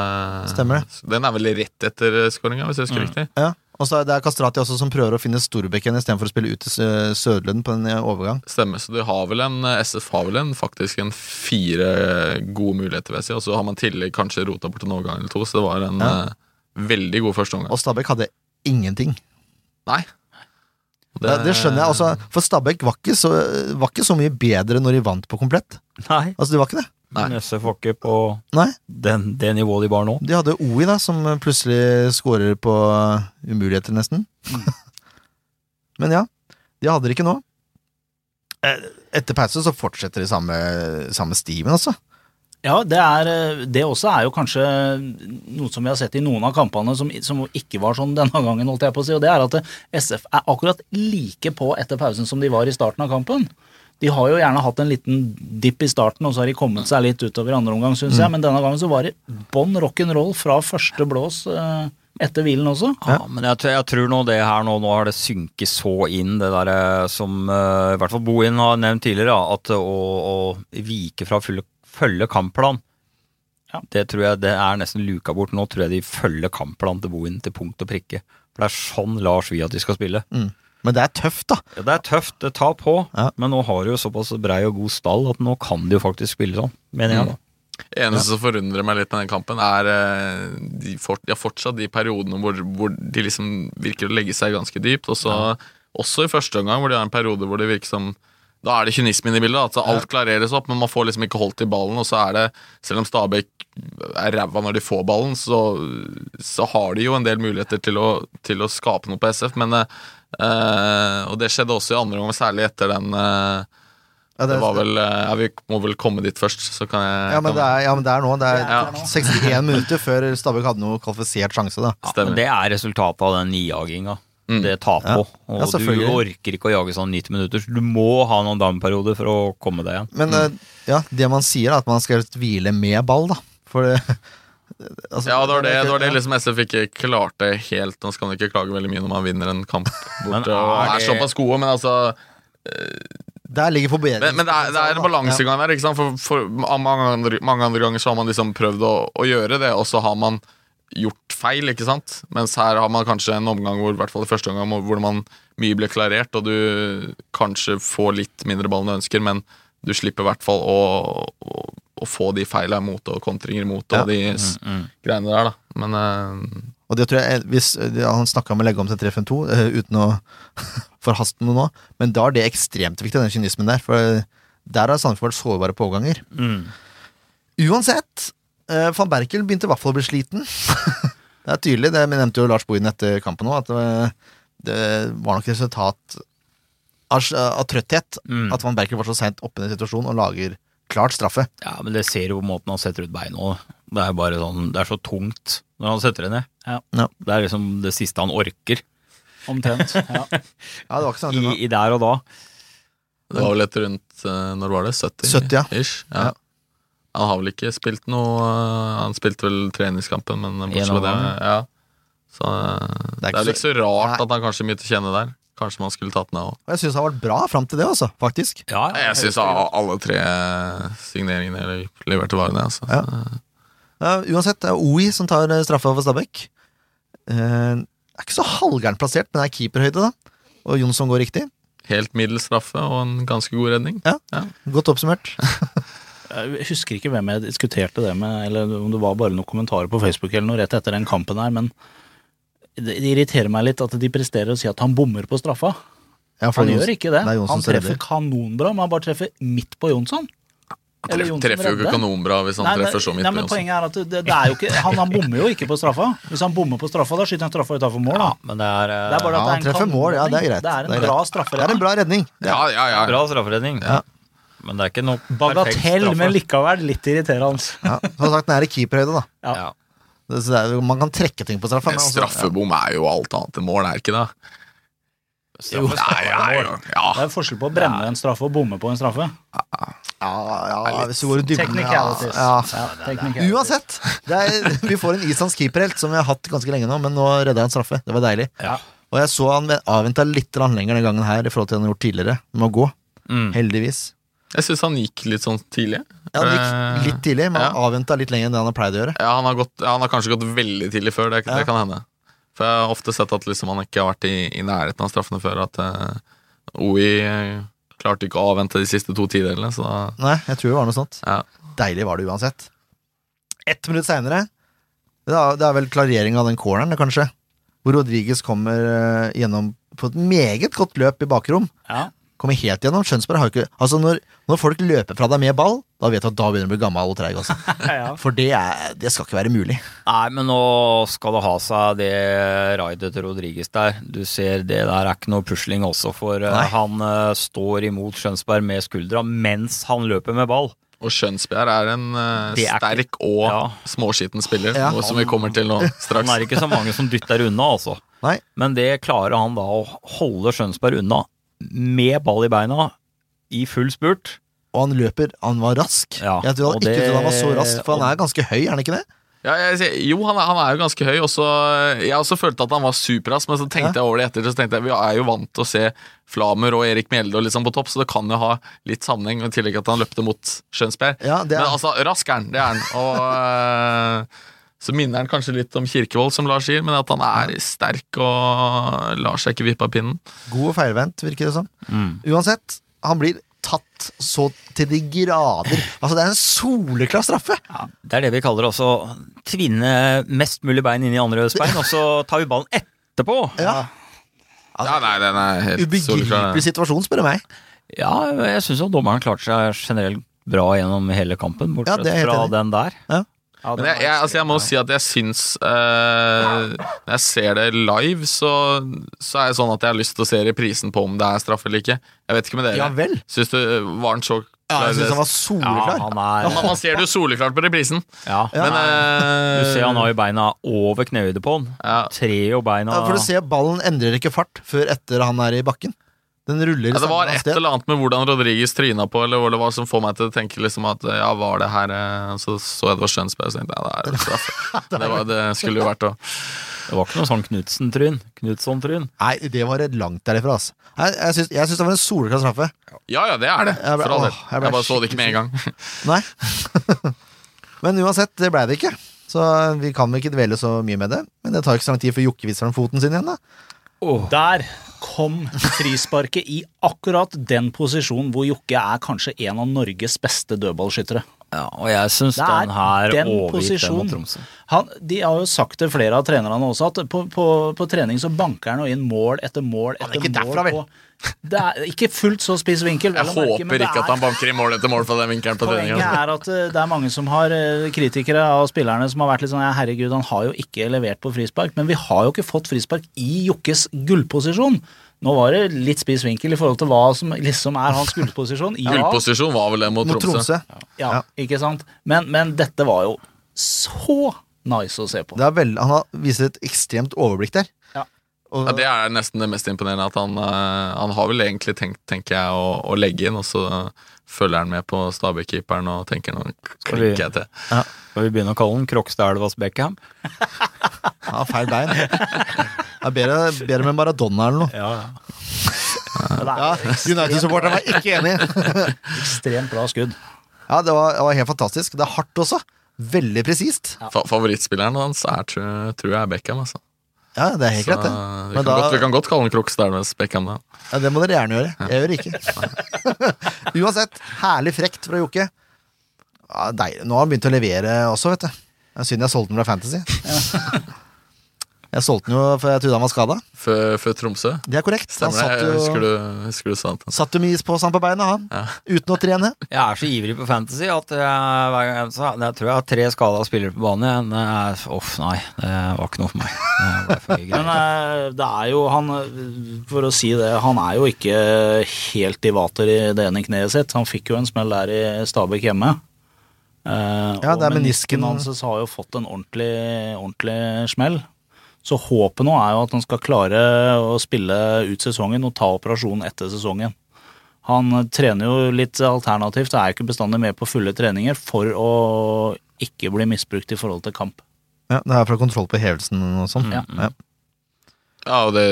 Stemmer eh, Den er vel rett etter skåringa, hvis jeg husker riktig. Ja. Og så er det Kastrati også som prøver å finne Storbekken istedenfor å spille ut til Sø- Søderlund på en eh, overgang. Stemmer. Så du har vel en, SF har vel en, faktisk en fire gode muligheter, vil jeg si. Og så har man tidlig kanskje rota bort en overgang eller to, så det var en Ja. eh, veldig god første omgang. Og Stabæk hadde ingenting. Nei. Det, det skjønner jeg. Altså, for Stabæk var ikke, så, var ikke så mye bedre når de vant på komplett. Nei. Altså, de var ikke det. Nei. Nøsse får ikke på Nei. den, det nivået de var nå. De hadde Oi, da, som plutselig skårer på eh, umuligheter, nesten. Mm. Men ja, de hadde det ikke nå. Eh, Etter pause så fortsetter de samme, samme stimen, altså. Ja, det, er, øh, det også er jo kanskje noe som vi har sett i noen av kampene som, som ikke var sånn denne gangen, holdt jeg på å si. Og det er at SF er akkurat like på etter pausen som de var i starten av kampen. De har jo gjerne hatt en liten dipp i starten, og så har de kommet seg litt utover i andre omgang, syns jeg. Men denne gangen så var det bånn rock'n'roll fra første blås øh, etter hvilen også. Ja, Ah, men jeg, tror- jeg tror nå det her nå, nå har det synket så inn, det derre som eh, i hvert fall Bohin har nevnt tidligere, da, at å, å vike fra å følge, følge kampplan Ja. Det tror jeg det er nesten luka bort. Nå tror jeg de følger kampplanen til Bohin til punkt og prikke. For det er sånn Lars vil at de skal spille. Men det er tøft, da. Ja, det er tøft, det tar på, Ja. men nå har de jo såpass brei og god stall at nå kan de jo faktisk spille sånn, mener jeg da. eneste som forundrer meg litt med den kampen, er eh, de, fort, de har fortsatt de periodene hvor, hvor de liksom virker å legge seg ganske dypt. Også, også i første omgang, hvor de har en periode hvor det virker som da er det kynismen i bildet. Altså alt klareres opp, men man får liksom ikke holdt i ballen. Og så er det, selv om Stabæk er ræva når de får ballen, så, så har de jo en del muligheter til å, til å skape noe på SF. Men, eh, eh, og det skjedde også i andre omgang, særlig etter den eh, Ja, det var vel, eh, ja, Vi må vel komme dit først, så kan jeg ja, men det er, ja, men det er nå. Det er Ja. 61 minutter før Stabæk hadde noe kvalifisert sjanse, da. Ja, men det er resultatet av den nijaginga. Det tar på. Ja, Og du selvfølgelig. orker ikke å jage sånn 90 minutter, så du må ha noen down-perioder for å komme deg igjen. Men Mm. eh, ja, det man sier, er at man skal hvile med ball, da. For det altså, Ja, det var er det, ikke- det, var det ja. liksom SF ikke klarte helt. Nå skal man ikke klage veldig mye når man vinner en kamp Men borte er og er det- såpass gode, men altså Der ligger forbedringen. Men, men det, er, det er en balansegang der, ikke sant? For, for mange, andre, mange andre ganger så har man liksom prøvd å, å gjøre det, og så har man gjort feil, ikke sant? Mens her har man kanskje en omgang hvor, i hvert fall i første omgang, hvor man mye blir klarert, og du kanskje får litt mindre ball enn du ønsker, men du slipper i hvert fall å, å, å få de feilene imot, og kontringer imot, og de s- greiene der, da. Men eh, Og det tror jeg, hvis eh, ja, Han snakka om å legge om til 352 eh, uten å forhaste noe nå, men da er det ekstremt viktig, den kynismen der. For eh, der har Sandefjord vært sårbare påganger. Uansett, eh, van Berkel begynte i hvert fall å bli sliten. det er tydelig. Det vi nevnte jo Lars Bohin etter kampen òg, at det, det var nok resultat av, av trøtthet. At van Berkel var så seint oppe i den situasjonen og lager klart straffe. Ja, men det ser jo på måten han setter ut beina òg. Det er bare sånn, det er så tungt når han setter det ned. Ja. Det er liksom det siste han orker Omtrent. Ja. Ja, det var ikke sånn at i, det var- i der og da. Det var vel et rundt eh, Når var det? 70? 70, ja. Ish, Ja. ja. Han har vel ikke spilt noe eh, Han spilte vel treningskampen, men bortsett En fra av det dem. ja. Så eh, Det er liksom- det ikke er vel ikke så rart Nei. at han kanskje er mye til å kjenne der. Kanskje man skulle tatt den av òg. Og jeg syns det har vært bra fram til det, altså. Faktisk. Ja, ja. Jeg syns alle tre eh, signeringene eller leverte varene, altså. Ja. Ja, uansett, det er OI som tar eh, straffa for Stabæk. Eh, er ikke så halvgærent plassert, men det er keeperhøyde, da. Og Jonsson går riktig. Helt middels straffe og en ganske god redning. Godt oppsummert. Jeg husker ikke hvem jeg diskuterte det med, eller om det var bare noen kommentarer på Facebook eller noe rett etter den kampen her, men det det irriterer meg litt at de presterer å si at han bommer på straffa. Ja, for Han Jons- gjør ikke det. det er Jonsson han som treffer redder. kanonbra, men han bare treffer midt på Jonsson. Eller Treff, Jonsson treffer jo ikke redder. kanonbra hvis han Nei, men- treffer så midt nei, på men Johnsen. Poenget er at det, det er jo ikke, han, han bommer jo ikke på straffa. Hvis han bommer på straffa, da skyter han straffa utafor mål. Da. Men det er, eh, Det er bare Ja, han at det er en treffer mål, ja, det er greit. Det er en greit. bra Det er en strafferedning. bra redning. Det Ja, er, ja, ja. bra strafferedning. Ja. Men det er ikke nok perfekt Bagatell, straffe. men likevel litt irriterende. ja. Som sagt, den er i keeperhøyde, da. ja. Det- Så det er, jo- man kan trekke ting på straffa. Men men altså- straffebom er jo alt annet enn mål, er det ikke det? Straffe- Nei, ja, ja, ja. Det er forskjell på å brenne en straffe og bomme på en straffe. Ja, ja, hvis du går i dybden Technicalities. ja, ja. Ja, technicalities. Uansett, det er, vi får en islandsk keeperhelt som vi har hatt ganske lenge nå, men nå redda han straffe. Det var deilig. Ja. Og jeg så han avventa litt grann lenger den gangen her i forhold til det han har gjort tidligere, med å gå. Mm. Heldigvis. Jeg syns han gikk litt sånn tidlig. Ja, det gikk litt tidlig, men Eh, Ja. han avventa litt lenger enn det han har pleid å gjøre. Ja, han har, gått, ja, han har kanskje gått veldig tidlig før, det, Ja. det kan hende. For jeg har ofte sett at liksom han ikke har vært i, i nærheten av straffene før. At eh, OI eh, klarte ikke å avvente de siste to tidelene, så da Nei, jeg tror det var noe sånt. Ja. Deilig var det uansett. Ett minutt seinere, det, er- det er vel klarering av den corneren, det, kanskje, hvor Rodriges kommer eh, gjennom på et meget godt løp i bakrom. Ja. Kommer helt gjennom. Skjønsberg har jo ikke Altså, når, når folk løper fra deg med ball, da vet du at da begynner du å bli gammel og treig, altså. Ja. For det, er, det skal ikke være mulig. Nei, men nå skal det ha seg det raidet til Rodriges der. Du ser det der er ikke noe pusling også, for eh, Nei. han eh, står imot Skjønsberg med skuldra mens han løper med ball. Og Skjønsbjerg er en eh, Det er sterk og Ja. småskitten spiller, Ja. noe som vi kommer til nå Han straks. er ikke så mange som dytter unna, altså. Nei. Men det klarer han da å holde Skjønsberg unna med ball i beina i full spurt. Og han løper Han var rask. Ja, jeg tror og han, ikke det- trodde han var så rask, for han og- er ganske høy, er han ikke det? Ja, jeg, sier- jo, han er, han er jo ganske høy. Også, jeg også følte at han var superrask, men så tenkte jeg over det etter. Så tenkte jeg, Vi er jo vant til å se Flamer og Erik Mjelde og liksom på topp, så det kan jo ha litt sammenheng. og I tillegg at han løpte mot Skjønsberg. Ja, det er- Men altså, rask er han. Det er han. Og eh, så minner han kanskje litt om Kirkevold, som Lars sier, men at han er sterk og lar seg ikke vippe av pinnen. God og feilvendt, virker det som. Uansett, han blir tatt så til de grader. Altså, det er en soleklar straffe! Det er det vi kaller også tvinne mest mulig bein inn i andres bein, og så tar vi ballen etterpå. Ja, ja, nei, den er helt soleklar, Ubegripelig den. situasjon, spør du meg. Ja, jeg syns jo dommeren klarte seg generelt bra gjennom hele kampen, Ja, bortsett det er jeg helt fra enig i. den der. Ja, det Men jeg, jeg, altså jeg må si at jeg syns eh, Når jeg ser det live, så, så er det sånn at jeg har lyst til å se reprisen på om det er straff eller ikke. Jeg vet ikke med dere. Ja vel. Syns du eh, var den så Ja, jeg syns han var Ja, soleklar. han er Man, man ser det jo soleklart på reprisen, ja. men eh, Du ser han har jo beina over knehøyde på han. ja. Tre jo beina Ja, for du ser, ballen endrer ikke fart før etter han er i bakken. Den ruller i Ja, det var samme et sted. eller annet med hvordan Rodriguez tryna på, eller hva det var som får meg til å tenke liksom at ja, var det her eh, Så så jeg det var Skjønsberg, og så tenkte jeg ja, det er jo straff. Det, var, det skulle jo vært det. Det var ikke noe sånn Knutsen-tryn. Knutson-tryn. Nei, det var et langt derifra, altså. Nei, Jeg, syns- jeg syns det var en soleklar straffe. Ja ja, det er det. Jeg ble- For all åh, del. jeg Jeg ble bare så det ikke med en gang. Nei. Men uansett, det blei det ikke. Så vi kan vel ikke dvele så mye med det. Men det tar ikke så lang tid før Jokke viser ham foten sin igjen, da. Der kom frisparket i akkurat den posisjonen hvor Jokke er kanskje en av Norges beste dødballskyttere. Ja, og jeg syns Det er den her den overgikk den posisjonen. mot Tromsø. Han, de har jo sagt til flere av trenerne også, at på, på, på trening så banker han jo inn mål etter mål Han er etter ikke mål. derfra, vel? på- det er ikke fullt så spiss vinkel. vel å Jeg merke, men håper det ikke er- at han banker i mål etter mål fra den vinkelen på Poenget treninga. er at eh, det er mange som har eh, kritikere av spillerne som har vært litt sånn ja, herregud, han har jo ikke levert på frispark, men vi har jo ikke fått frispark i Jokkes gullposisjon. Nå var det litt spiss vinkel i forhold til hva som liksom er hans gullposisjon. Ja, Gullposisjon var vel det mot Mot Tromsø. Tromsø. ja, ikke sant? Men, men dette var jo så nice å se på. Det er vel, han har viser et ekstremt overblikk der. Ja. Og, Ja, det er nesten det mest imponerende. At han, eh, han har vel egentlig tenkt tenker jeg, å, å legge inn, og så eh, følger han med på Stabæk-keeperen og tenker nå Skal vi- klikker jeg til. Skal vi begynne å kalle den Krokstadelvas Beckham? Ja, feil bein. Det er bedre, bedre med Maradona eller noe. Ja, ja. Det Ja, er United-supporteren var ikke enig. ekstremt bra skudd. Ja, det var, det var helt fantastisk. Det er hardt også. Veldig presist. Fa favorittspilleren hans er, tror, tror jeg er Beckham. Altså. Ja, det er helt Så, greit, det. eh, vi, Men kan da- godt, vi kan godt kalle han Crooks Dalmas Beckham, da. Ja, det må dere gjerne gjøre. Jeg gjør det ikke. Uansett, herlig frekt fra Jokke. Ja, deil- Nå har han begynt å levere også, vet du. Det er synd jeg solgte den fra Fantasy. Jeg solgte den jo for jeg trodde han var skada. Før, før Tromsø. Det er korrekt. Han Stemmer det? satt Jeg husker jo, du, husker du sa det. satt jo mye på seg på beina, han. Uten å trene. Jeg er så ivrig på fantasy at jeg, hver gang jeg, så, jeg tror jeg har tre skada spillere på banen. igjen. Jeg- Uff, nei. Det var ikke noe for meg. Det var for Men greit. eh, det er jo han eh, For å si det, han er jo ikke helt i vater i det ene kneet sitt. Han fikk jo en smell der i Stabæk hjemme. Eh, Ja, og det er menisken. hans har jo fått en ordentlig, ordentlig smell. Så håpet nå er jo at han skal klare å spille ut sesongen og ta operasjonen etter sesongen. Han eh, trener jo litt alternativt, er jo ikke bestandig med på fulle treninger for å ikke bli misbrukt i forhold til kamp. Ja, det er fra kontroll på hevelsen og sånn. Ja. Ja. Ja, og det,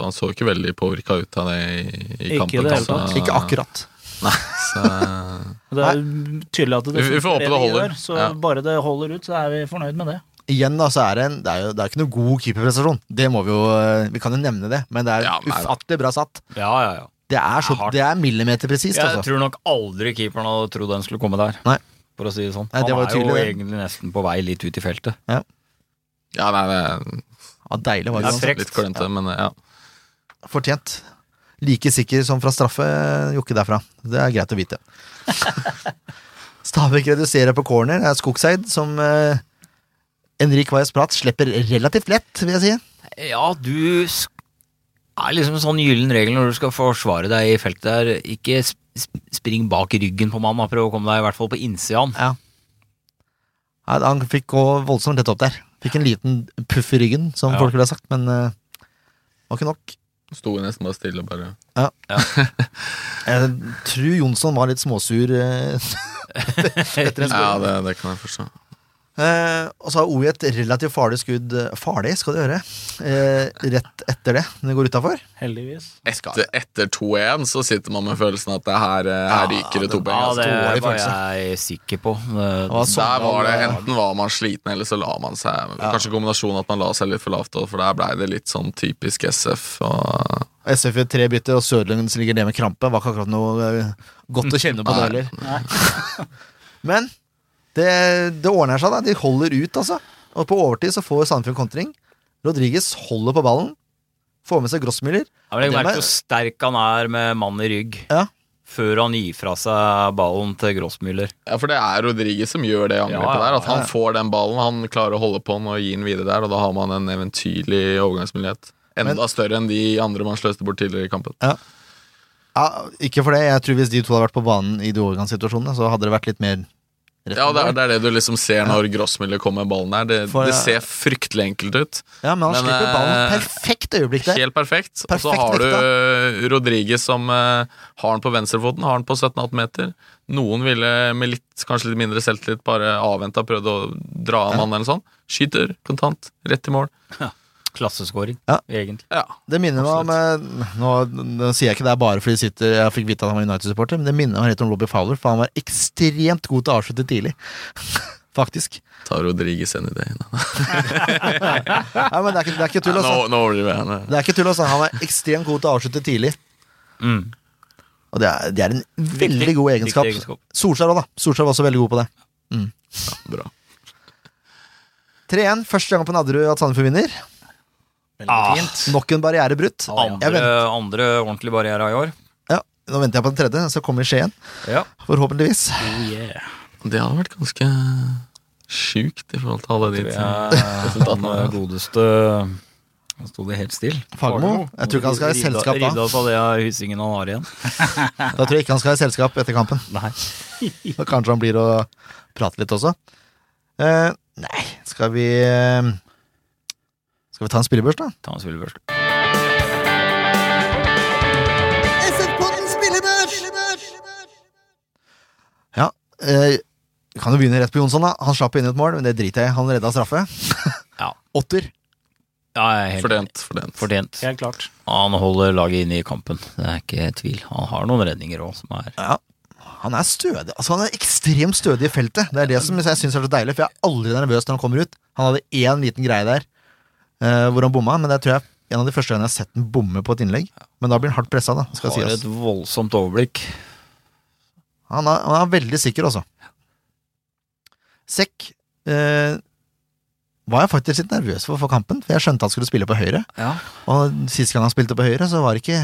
han så ikke veldig påvirka ut av det i, i Ikke i kampen. det hele altså. tatt. Ikke akkurat. Nei, så Og Det er jo tydelig at det Vi- vi får håpe funker det holder. gjør, så Ja. bare det holder ut, så er vi fornøyd med det. Igjen, da, så er det, en, det, er jo, det er ikke noe god keeperprestasjon. Det må vi jo eh, Vi kan jo nevne det, men det er Ja, nei da. ufattelig bra satt. Ja, ja, ja. Det er, så, Det er hardt. det er millimeterpresist, Jeg altså. tror nok aldri keeperen hadde trodd den skulle komme der. Nei. For å si det sånn. Nei, det Han var er tydelig, jo det. egentlig nesten på vei litt ut i feltet. ja, nei, det Ja, deilig var det. Det altså. er frekt. er litt klønete, men ja. Fortjent. Like sikker som fra straffe, Jokke derfra. Det er greit å vite. Stabæk reduserer på corner. Det er Skogseid som eh, Henrik Weiss Prat slipper relativt lett, vil jeg si. Ja, du sk- er liksom en sånn gyllen regel når du skal forsvare deg i feltet der. Ikke sp sp- spring bak ryggen på mannen, da. prøv å komme deg i hvert fall på innsida av han. Nei, Han fikk gå voldsomt tett opp der. Fikk en liten puff i ryggen, som Ja. folk ville ha sagt, men eh, var ikke nok. Sto nesten bare stille, bare. Jeg tror Jonsson var litt småsur. eh. Ja, det, det kan jeg forstå. Eh, og så har OI et relativt farlig skudd Farlig, skal du høre. Eh, rett etter det, når det går utafor. Heldigvis. Etter, etter 2-1 så sitter man med følelsen at det her, eh, her ryker det to poeng. Ja, altså. det dårlig var følelse. jeg sikker på. Det- Og Der Sogndal, var det eh, Enten var man sliten, eller så la man seg. Kanskje kombinasjonen at man la seg litt for lavt, også, for der blei det litt sånn typisk SF. Og SF gjør tre bytter, og Sørlund ligger ned med krampe. Var ikke akkurat noe eh, godt å kjenne på det heller. Men det, det ordner seg, da. De holder ut, altså. Og på overtid så får Sandefjord kontring. Rodriges holder på ballen. Får med seg Grossmiller. Ja, men Legg Det merke var- til hvor sterk han er med mann i rygg Ja. før han gir fra seg ballen til Grossmüller. Ja, for det er Rodriguez som gjør det angrepet Ja, ja, der. At han ja. får den ballen, han klarer å holde på den og gi den videre der, og da har man en eventyrlig overgangsmulighet. Enda Men- større enn de andre man sløste bort tidligere i kampen. Ja, ikke for det. Jeg tror hvis de to hadde vært på banen i de overgangssituasjonene, så hadde det vært litt mer rett. Ja, det er, det er det du liksom ser når Grossmiller kommer med ballen der. Det, For, det ja. ser fryktelig enkelt ut. ja men han Men, slipper ballen. eh, Perfekt øyeblikk der. Helt perfekt. Og så Perfekt har løfta. du Rodriguez som eh, har den på venstrefoten, har den på 17-18 meter. Noen ville med litt, kanskje litt mindre selvtillit bare avventa, prøvd å dra av mannen eller sånn. Skyter kontant, rett i mål. Klasseskåring, Ja. egentlig. Ja. Det minner meg om eh, nå, nå sier jeg ikke det er bare fordi de sitter, jeg fikk vite at han var United-supporter, men det minner meg litt om Robbie Fowler, for han var ekstremt god til å avslutte tidlig. Faktisk. Tar Rodriguez en idé. Nei, Nei, men det er ikke, det er ikke tull, Nå altså. nå overdriver jeg. Det er ikke tull, altså. Han var ekstremt god til å avslutte tidlig. Mm. Og Og det er, det er en veldig Viktig- god egenskap. viktig egenskap. Solskjær òg, da. Solskjær var også veldig god på det. Bra. 3-1. Første gang på Nadderud at Sandefjord vinner. Veldig Ah. fint. Nok en barriere brutt. Jeg Andre, vent, andre ordentlige barriere i år. ja, nå venter jeg på den tredje, så kommer Skien. Ja. Forhåpentligvis. Oh, yeah. Det hadde vært ganske sjukt i forhold til alle de tingene. Han eh, godeste Han sto det helt stille. Fagermo. Jeg tror ikke han skal ha selskap Ridde da. opp av det av hyssingen han har igjen. Da tror jeg ikke han skal ha selskap etter kampen. Nei. Så kanskje han blir og prater litt også. Eh, nei, skal vi eh, Skal vi ta en spillebørs, da? Ta en spillebørste. Ja. Eh, kan jo begynne rett på Jonsson, da. Han slapp inn et mål, men det driter jeg i. Han redda straffe. Ja. Åtter. Ja, jeg er helt Fordent, fordent. Fortjent. Helt klart. Han holder laget inne i kampen, det er ikke tvil. Han har noen redninger òg, som er Ja. Han er stødig. Altså, han er ekstremt stødig i feltet. Det er det som jeg syns er så deilig, for jeg er aldri nervøs når han kommer ut. Han hadde én liten greie der eh, hvor han bomma, men det er, tror jeg en av de første gangene jeg har sett den bomme på et innlegg. Men da blir han hardt pressa, da. Skal har sies. et voldsomt overblikk. Han, er, han er veldig sikker, altså. Sekk eh, var jeg faktisk litt nervøs for for kampen, for jeg skjønte han skulle spille på høyre. Ja. Og sist gang han spilte på høyre, så var det ikke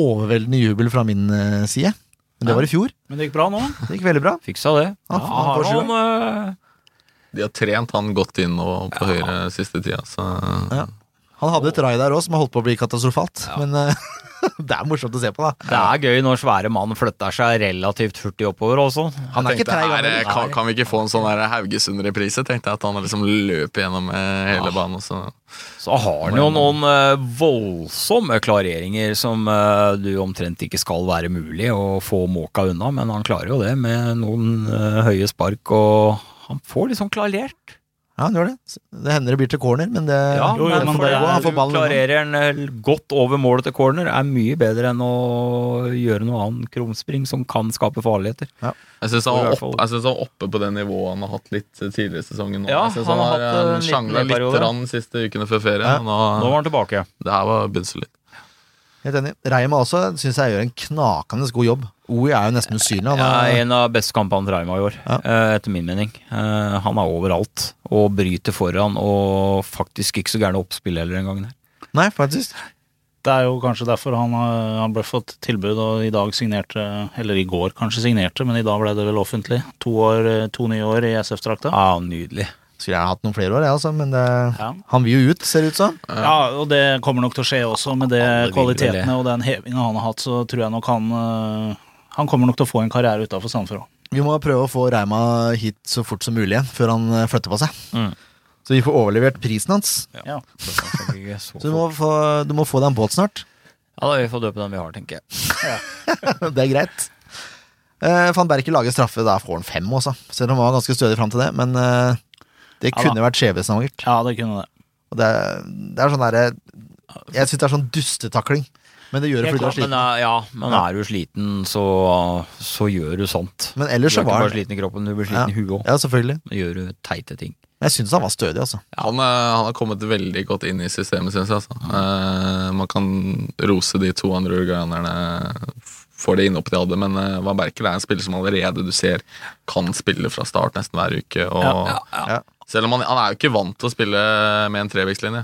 overveldende jubel fra min eh, side. Men det var i fjor. Men det gikk bra nå. Det gikk veldig bra. Fiksa det. Ja, Ja, han har får sju. noen eh, De har trent han godt inn nå på høyre siste tida, så Ja. Han hadde et rai der òg som har holdt på å bli katastrofalt, men eh, det er morsomt å se på, da. Det er gøy når svære mann flytter seg relativt hurtig oppover også. Han er ikke tenkte treig. jeg, gammel. kan, kan vi ikke få en sånn der Haugesund-reprise? Tenkte jeg at han liksom løper gjennom eh, hele banen. Og så. Så har han jo noen eh, voldsomme klareringer som eh, du omtrent ikke skal være mulig å få måka unna, men han klarer jo det med noen eh, høye spark og han får liksom klarert. Ja, han gjør det. Det hender det blir til corner, men det Ja, jo, men men får det det gå. Han er, får ballen unna. klarerer en eh, godt over målet til corner er mye bedre enn å gjøre noe annet krumspring som kan skape farligheter. Jeg syns han, I var hvert opp, fall. jeg synes han var oppe på det nivået han har hatt litt eh, tidligere i sesongen. Nå. Ja, jeg synes han han, har har hatt en eh, liten sjangla litt periode. rann siste ukene før ferie. Ja. Nå, Nå var han tilbake. det her var bunselig. Helt enig. Reima også syns jeg gjør en knakende god jobb. Oi er jo nesten usynlig. Han Ja, er, en av beste kampene til Reima i år, Ja. eh, etter min mening. Eh, Han er overalt og bryter foran og faktisk ikke så gærne oppspill heller en gang der. nei, faktisk. Det er jo kanskje derfor han, eh, han ble fått tilbud og i dag signerte, eller i går kanskje signerte, men i dag ble det vel offentlig. To, år, eh, to nye år i SF-drakta. Ja, Ah, nydelig. Skulle jeg hatt noen flere år, jeg, altså, men det, Ja. han vil jo ut, ser det ut som. Ja, og det kommer nok til å skje også, med det Alle vil vel det. kvalitetene og den hevinga han har hatt, så tror jeg nok han eh, Han kommer nok til å få en karriere utafor Sandefjord òg. Vi må prøve å få Reima hit så fort som mulig igjen, før han eh, flytter på seg. Mm. Så vi får overlevert prisen hans. Ja. Så du må få, du må få deg en båt snart. Ja, da vil vi få døpe den vi har, tenker jeg. det er greit. Eh, Van Berke lager straffe, da får han fem, også. Selv om han var ganske stødig fram til det, men eh, det Ja da. kunne vært skjebnesvangert. ja, det kunne det. Og det, er- det er sånn derre Jeg syns det er sånn dustetakling, men det gjør det fordi Helt du er klart, Men sliten. eh, ja, men er du sliten, så, så gjør du sånt. Men Du ellers er så ikke var bare han sliten i kroppen, du blir sliten i huet òg. Ja, selvfølgelig. Gjør du teite ting. Men jeg syns han var stødig, altså. Han, eh, han har kommet veldig godt inn i systemet, syns jeg. Altså. Eh, man kan rose de to andre uruguayanerne for det innhoppet de hadde, men eh, Van Berkel er en spiller som allerede du ser kan spille fra start nesten hver uke. Og, Ja. Selv om han, han er jo ikke vant til å spille med en trevektslinje.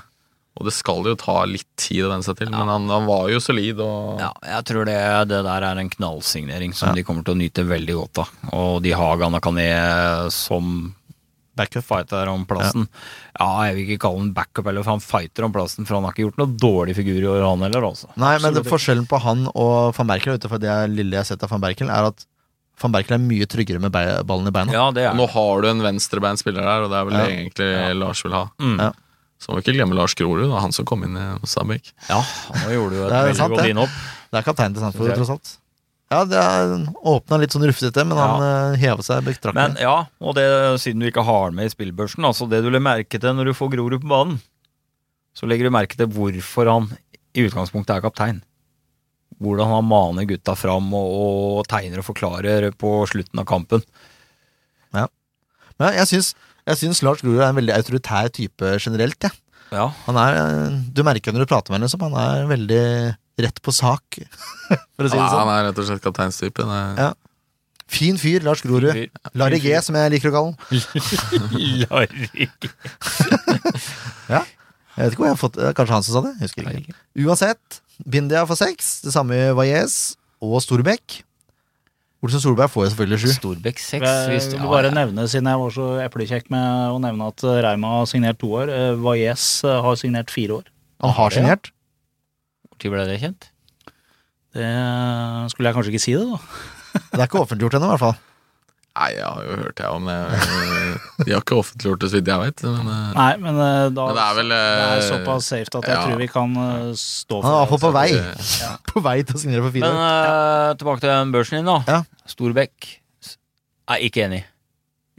Og det skal jo ta litt tid å venne seg til, men han, han var jo solid. Og, Ja, jeg tror det, det der er en knallsignering som de kommer til å nyte veldig godt av. Og de har Ganakane som backup fighter om plassen. Ja. jeg vil ikke kalle han backup heller, for han fighter om plassen, for han har ikke gjort noe dårlig figur i år, han heller, altså. Nei, men det, forskjellen på han og van Berkel, ut ifra det lille jeg har sett av van Berkel, er at van Berkel er mye tryggere med bei- ballen i beina. Ja, det er Nå har du en venstrebeint spiller der, og det er vel Ja. det egentlig Lars vil ha. Mm. Ja. Så må vi ikke glemme Lars Grorud, da, han som kom inn i Stabæk. Ja, han gjorde jo et Det er veldig sant, det. godt innhopp. Det er kapteinen til Sandefjord, Synes jeg. tross alt. Ja, det er, åpna litt sånn rufsete, men han eh, heva seg Men betraktelig. ja, og det siden du ikke har den med i spillbørsen, altså det du vil merke til når du får Grorud på banen, så legger du merke til hvorfor han i utgangspunktet er kaptein. Hvordan han maner gutta fram og, og tegner og forklarer på slutten av kampen. Men jeg syns, jeg syns Lars Grorud er en veldig autoritær type generelt, jeg. Ja, Han er, eh, du merker når du prater med ham, liksom. Han er veldig Rett på sak, for å si det Ja, han sånn. er rett og slett kapteinstype. det- Ja. Fin fyr, Lars Grorud. Larry G, som jeg liker å kalle han. Larry. Jeg vet ikke hvor jeg har fått det. er Kanskje han som sa det? Jeg Husker ikke. Uansett, Bindia får seks. Det samme Vajez og Storbekk. Olsen Solberg får jo selvfølgelig sju. Storbekk 6. Jeg Hvis, vil ja, bare ja. nevne, siden jeg var så eplekjekk med å nevne at eh, Reima har signert to år. eh, Valles eh, har signert fire år. Han har Ja. signert. Når ble det kjent? Det eh, skulle jeg kanskje ikke si det, da. Det er ikke offentliggjort ennå, i hvert fall. Nei, jeg har jo hørt jeg om det. De har ikke offentliggjort det, så vidt jeg vet. Men, eh, Nei, men eh, da men det er vel det eh, er såpass safe at jeg ja. tror vi kan eh, stå Han er i hvert fall på for det. vei. eh, På vei til å signere for fire Men år. eh, tilbake til den børsen din, da. Ja. Storbekk. S- Nei, ikke enig.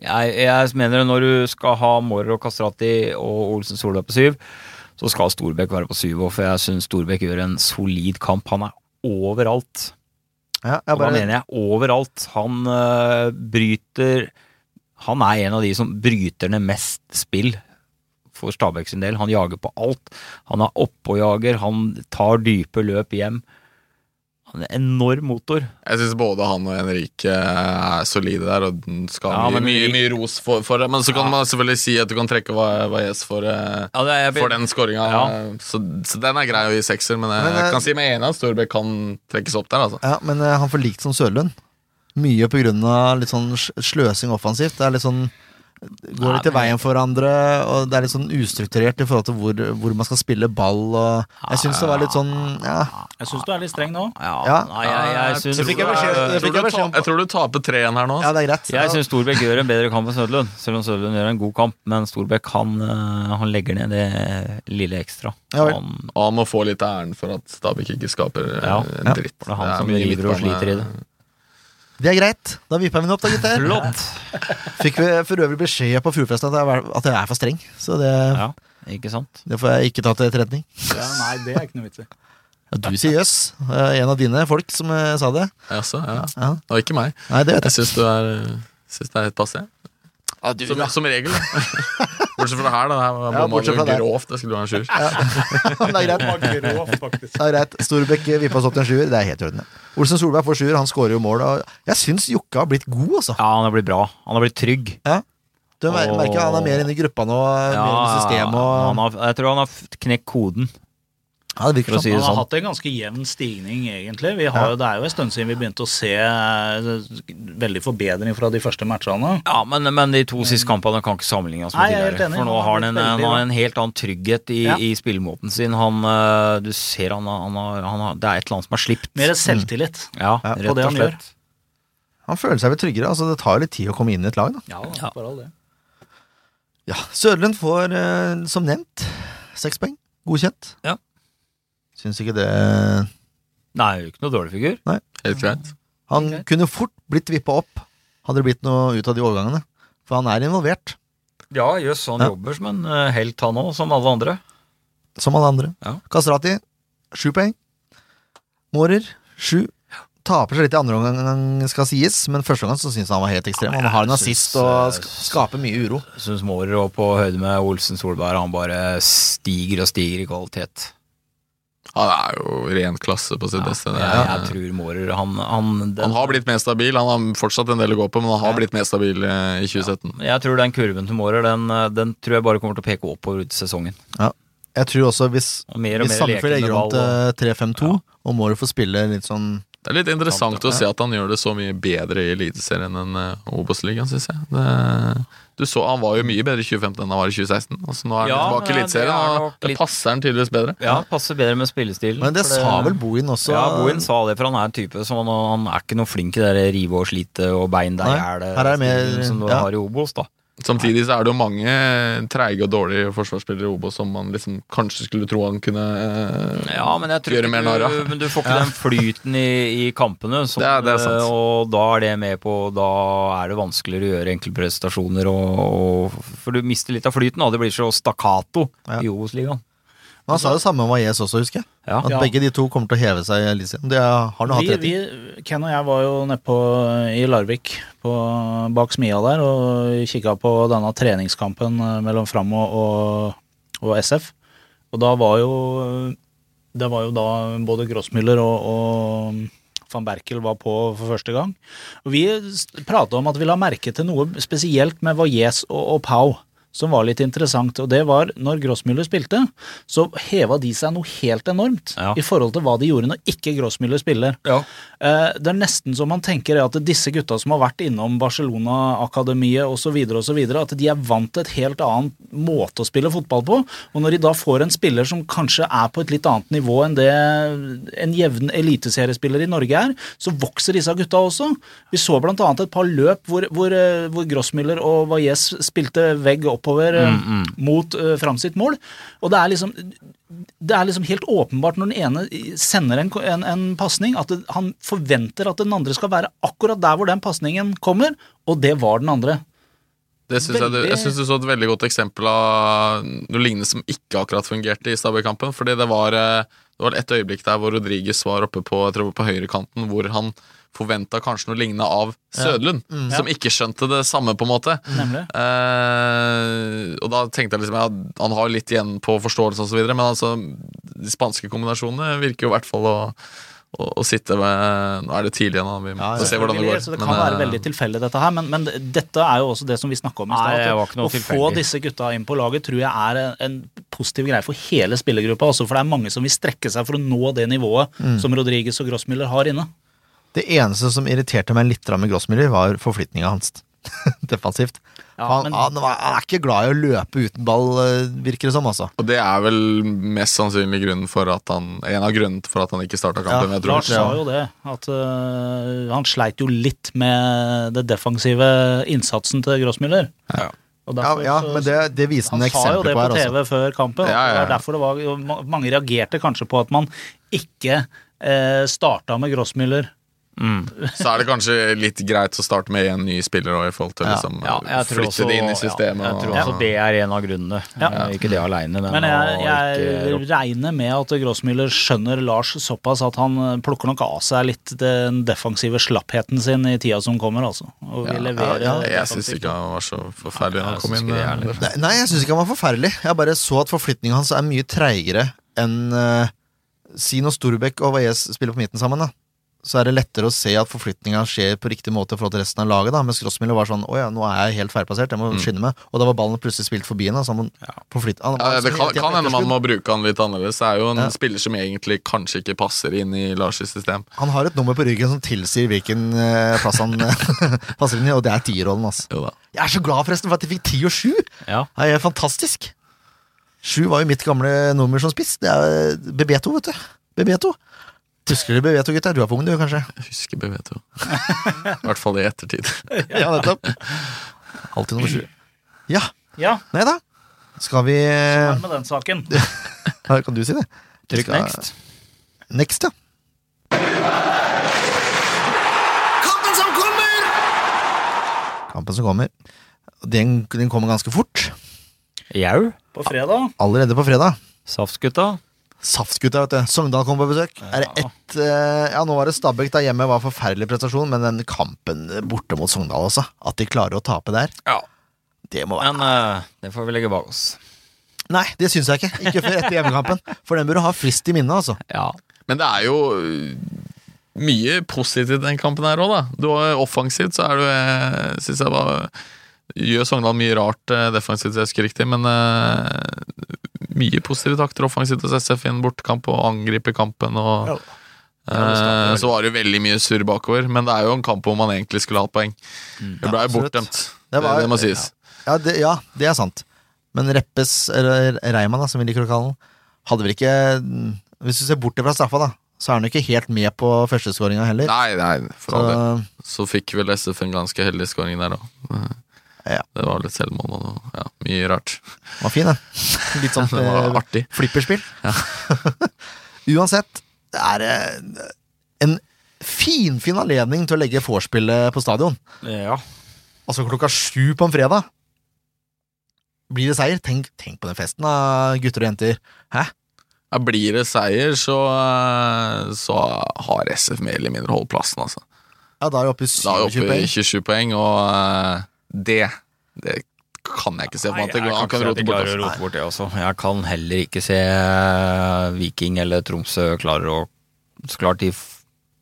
Jeg, jeg mener når du skal ha Mårer og Kastrati og Olsen Solberg på syv, så skal Storbekk være på syv. Og for jeg syns Storbekk gjør en solid kamp. Han er overalt. Ja, jeg Og da bare, mener jeg overalt. Han eh, bryter Han er en av de som bryter ned mest spill for Stabæk sin del. Han jager på alt. Han er oppåjager, han tar dype løp hjem. Han er en enorm motor. Jeg syns både han og Henrike er solide der, og den skal ha Ja, mye, men mye, Henrik- mye ros for, for det. Men så kan Ja. man selvfølgelig si at du kan trekke Vajez for, eh, Ja, det er, jeg, for den skåringa. Ja. Så, så den er grei å gi sekser, men jeg Men, eh, kan si med enig at Storbekk kan trekkes opp der. altså ja, men eh, han får likt som Sørlund. Mye på grunn av litt sånn sl- sløsing offensivt. Det er litt sånn Går litt i veien for hverandre, og det er litt sånn ustrukturert i forhold til hvor, hvor man skal spille ball og Jeg syns det var litt sånn Ja, Jeg syns du er litt streng nå. Ja, Ja. Nei, jeg, jeg syns tror fikk jeg du- beskjed- det jeg fikk tror jeg du beskjed om. ta- jeg tror du taper 3-1 her nå. altså. ja det er greit. jeg syns Storbekk gjør en bedre kamp enn Søderlund, selv om Søderlund gjør en god kamp. Men Storbekk han, eh, han legger ned det lille ekstra. Ja vel. han, Og han må få litt av æren for at Stabæk ikke skaper eh, Ja. en Ja. dritt. det er han som mye driver og midtbane- sliter i det. Det er greit. Da vippa vi den opp, da, gutter. Flott! Fikk vi for øvrig beskjed på Fjordfesten at, jeg var- at jeg er for streng, så det, Ja, ikke sant? det får jeg ikke ta til etterretning. Ja, nei, det er ikke noe vits i. Ja, Du sier jøss. Eh, En av dine folk som eh, sa det. Jaså, ja. Ja. Det var ikke meg. Nei, det vet Jeg jeg. syns du er eh, Synes det er helt passe. som, som regel. bortsett fra her, da. Her var Ja, bortsett fra ja, der. grovt. Det skulle du ha en sjuer. det er greit. Det er greit. Storbekk vippa oss opp til en sjuer. Det er helt i orden. Olsen Solberg får sjuer. Han skårer jo mål. Og jeg syns Jokke har blitt god, altså. Ja, han har blitt bra. Han har blitt trygg. Du mer- Åh. merker han er mer inne i gruppa nå. mer inne i systemet han og har, jeg tror han har f- knekt koden, Ja, det virker for å si sånn. det Han har sånn. hatt en ganske jevn stigning, egentlig. Vi har, jo- Det er jo en stund siden vi begynte å se eh, veldig forbedring fra de første matchene. Ja, men, men de to siste kampene kan ikke sammenlignes med Nei, jeg er helt tidligere. enig. For nå Han har har han en, blitt han veldig har bra. en helt annen trygghet i, Ja. i spillemåten sin. Han, eh, du ser han, har- han, har, han har Det er et eller annet som er slipt. Mer selvtillit. ja, Ja, rett på det og han gjør. slett. Han føler seg vel tryggere. altså Det tar jo litt tid å komme inn i et lag. da Ja, Ja. for all det. Ja, Sørlund får, eh, som nevnt, seks poeng. Godkjent. Ja. Syns ikke det Nei, det er jo ikke noe dårlig figur. Helt greit. Han kunne fort blitt vippa opp, hadde det blitt noe ut av de overgangene. For han er involvert, Ja, jøss, han Ja. jobber som en eh, helt, han òg, som alle andre. som alle andre. Ja. Kastrati, sju poeng. Mårer, sju. Taper seg litt i andre omgang, skal sies, men første omgang så syns jeg han var helt ekstrem. Han har en Jeg assist synes, og eh, sk- skaper mye uro. Syns Mårer òg på høyde med Olsen Solberg. Han bare stiger og stiger i kvalitet. Han er jo ren klasse på sitt beste. Det Jeg, er- jeg tror Mårer han, han, den, Han har blitt mer stabil. Han har fortsatt en del å gå på, men han har blitt mer stabil eh, i 2017. Jeg tror den kurven til Mårer den, eh, den tror jeg bare kommer til å peke oppover ut i sesongen. Jeg tror også hvis, Og mer og hvis mer Sandefjord lekende legger om ball. Og, til 3-5-2, og Mårer får spille litt sånn Det er litt interessant å se at han gjør det så mye bedre i Eliteserien enn eh, Obos-ligaen, syns jeg. Det, du så Han var jo mye bedre i 2015 enn han var i 2016. Altså, nå er han Ja, tilbake i men det er Eliteserien, nok og det litt- passer han tydeligvis bedre. ja, passer bedre med spillestilen. Men det Mm, for sa vel Bohin også. ja, Bohin sa det, for han er en type som han, han er ikke noe flink i det der rive og slite og bein deg i Nei, hjel her er det mer- stilen som du ja. har i Obos, da. Samtidig så er det jo mange treige og dårlige forsvarsspillere i Obos som man liksom kanskje skulle tro han kunne eh, Ja, men jeg tror Gjøre mer ikke narr av. du, men du får ikke den flyten i, i kampene. som- Det er- det er sant. Og da er det med på Da er det vanskeligere å gjøre enkeltprestasjoner. Og, og, for du mister litt av flyten, og det blir så stakkato Ja. i Obos-ligaen. Men han sa det samme om Ayes også, husker jeg. Ja. At Ja. begge de to kommer til å heve seg i Eliteserien. Det har han hatt Vi, rett i. vi, Ken og jeg var jo nede på, i Larvik, på, bak smia der, og kikka på denne eh, treningskampen mellom Fram og, og, og SF. Og da var jo Det var jo da både Grossmüller og, og van Berkel var på for første gang. Og vi prata om at vi la merke til noe spesielt med Valles og, og Pau som var litt interessant. Og det var når Grossmüller spilte, så heva de seg noe helt enormt Ja. i forhold til hva de gjorde når ikke Grossmüller spiller. Ja. Eh, det er nesten så man tenker at disse gutta som har vært innom Barcelona-akademiet osv., at de er vant til et helt annet måte å spille fotball på. Og når de da får en spiller som kanskje er på et litt annet nivå enn det en jevn eliteseriespiller i Norge er, så vokser disse gutta også. Vi så blant annet et par løp hvor, hvor, eh, hvor Grossmüller og Valles spilte vegg oppover eh, mot eh, fram sitt mål. Og det er liksom det er liksom helt åpenbart når den ene sender en, en, en pasning, at det, han forventer at den andre skal være akkurat der hvor den pasningen kommer, og det var den andre. Det synes jeg, du, jeg synes du så et veldig godt eksempel av noe lignende som ikke akkurat fungerte i Stabøy-kampen. Fordi det var, eh, det var et øyeblikk der hvor Rodriges var oppe på, jeg tror det var på høyrekanten, hvor han forventa kanskje noe lignende av Sødlund, som ikke skjønte det samme, på en måte. Mm. Nemlig. Eh, og da tenkte jeg liksom ja, han har litt igjen på forståelse og så videre, men altså, de spanske kombinasjonene virker jo i hvert fall å, å, å sitte med Nå er det tidlig igjen, da. Vi må Ja, ja. se hvordan det går. Så det kan Men, være eh, veldig tilfeldig, dette her, men, men dette er jo også det som vi snakka om i Nei, stad. det var at ikke noe Å få tilfeldig. disse gutta inn på laget tror jeg er en, en positiv greie for hele spillergruppa, også, for det er mange som vil strekke seg for å nå det nivået Mm. som Rodriges og Grossmüller har inne. Det eneste som irriterte meg litt med Grossmiller, var forflytninga hans. Defensivt. Ja, han, men- han, var, han er ikke glad i å løpe uten ball, eh, virker det som, altså. Og det er vel mest sannsynlig grunnen for at han En av grunnene for at han ikke starta kampen. Ja, jeg tror. Lars sa jo det, at øh, han sleit jo litt med det defensive innsatsen til Grossmüller. Og Ja, derfor ja så- men det, det viste han han sa jo eksempler det på på her, TV altså. før kampen. og Ja, ja, ja. Det er derfor det var, jo ma- mange reagerte kanskje på at man ikke eh, starta med Grossmüller. Så er det kanskje litt greit å starte med én ny spiller også, i forhold til å liksom, flytte det inn i systemet. Ja, jeg tror og- også det er en av grunnene. Ja. Eh, Ikke det aleine, men, Men jeg, å jeg ikke regner med at Grossmüller skjønner Lars såpass at han eh, plukker nok av seg litt den defensive slappheten sin i tida som kommer, altså. Og vil levere ja, Jeg syns defensivt. ikke han var så forferdelig da han eh, Jeg kom synes inn. ikke det er eh, litt- Nei, nei jeg syns ikke han var forferdelig. Jeg bare så at forflytninga hans er mye treigere enn uh, Si når Storbekk og Valles spiller på midten sammen, da. Så er det lettere å se at forflytninga skjer på riktig måte i forhold til resten av laget. da, Mens Grossmiller var sånn 'Å ja, nå er jeg helt feilplassert, jeg må skynde meg'. Og da var ballen plutselig spilt forbi henne. Så han må forflytte han, Mm. Ja, det kan, han- kan hende man må bruke han litt annerledes. Det er jo en Ja. spiller som egentlig kanskje ikke passer inn i Lars' system. Han har et nummer på ryggen som tilsier hvilken eh, plass han eh, passer inn i, og det er tierrollen. Altså. Jo da. Jeg er så glad forresten for at de fikk ti og sju! Ja. Det er fantastisk. Sju var jo mitt gamle nummer som spiss. Det er eh, Bebeto, vet du. Bebeto. Husker dere Bebeto, gutta? Du er på ung, du, kanskje? Jeg husker Beveto. I hvert fall i ettertid. Ja, nettopp. Alltid nummer sju. Ja. Ja, Nei da. Skal vi hva ja, er det med den saken? Kan du si det? Trykk Skal- next. Next, ja. Kampen som kommer! Kampen som kommer. Den, den kommer ganske fort. Jau. På fredag? Allerede på fredag. Saftsgutta. Saftgutta, vet du. Sogndal kom på besøk. Er det ett eh, Ja, nå var det Stabæk der hjemme, var forferdelig prestasjon, men den kampen borte mot Sogndal også, at de klarer å tape der, Ja. det må være Men eh, det får vi legge bak oss. Nei, det syns jeg ikke. Ikke før etter hjemmekampen. For den burde ha frist i minnet, altså. Ja. Men det er jo øh, mye positivt i den kampen her òg, da. Du er offensivt, så er du øh, Syns jeg var Gjør Sogndal mye rart øh, defensivt, hvis jeg husker riktig, men øh, mye positive takter offensivt hos SF i en bortekamp og angriper kampen og øh, Så var det jo veldig mye surr bakover, men det er jo en kamp hvor man egentlig skulle hatt poeng. Det ble jo absolutt. bortdømt. Det Det, var- det, må sies. Ja det, ja, det er sant. Men Reppes, eller Reimann, da, som vi liker å kalle han, hadde vel ikke mm, Hvis du ser bort fra straffa, da, så er han jo ikke helt med på førsteskåringa heller. Nei, nei, for all del. Så, Så fikk vel SF en ganske heldig skåring der òg. Ja. Det var litt selvmål og noe- ja, mye rart. var fin, den. Litt sånn Det var eh, artig. Flipperspill. Uansett, det er eh, en finfin anledning til å legge vorspielet på stadion. Ja. Altså klokka sju på en fredag. Blir det seier? Tenk, tenk på den festen, da, gutter og jenter. Hæ? Ja, blir det seier, så, eh, så har SF mer eller mindre holdt plassen. Altså. Ja, da er vi oppe i Da er vi 27 oppe i poeng. 27 poeng, og eh, det, det kan jeg ikke se for Nei, meg at det går. jeg Han kan kan ikke se at rote de bort. klarer å altså. rote bort det også. Jeg kan heller ikke se eh, Viking eller Tromsø klarer å Så klart de f-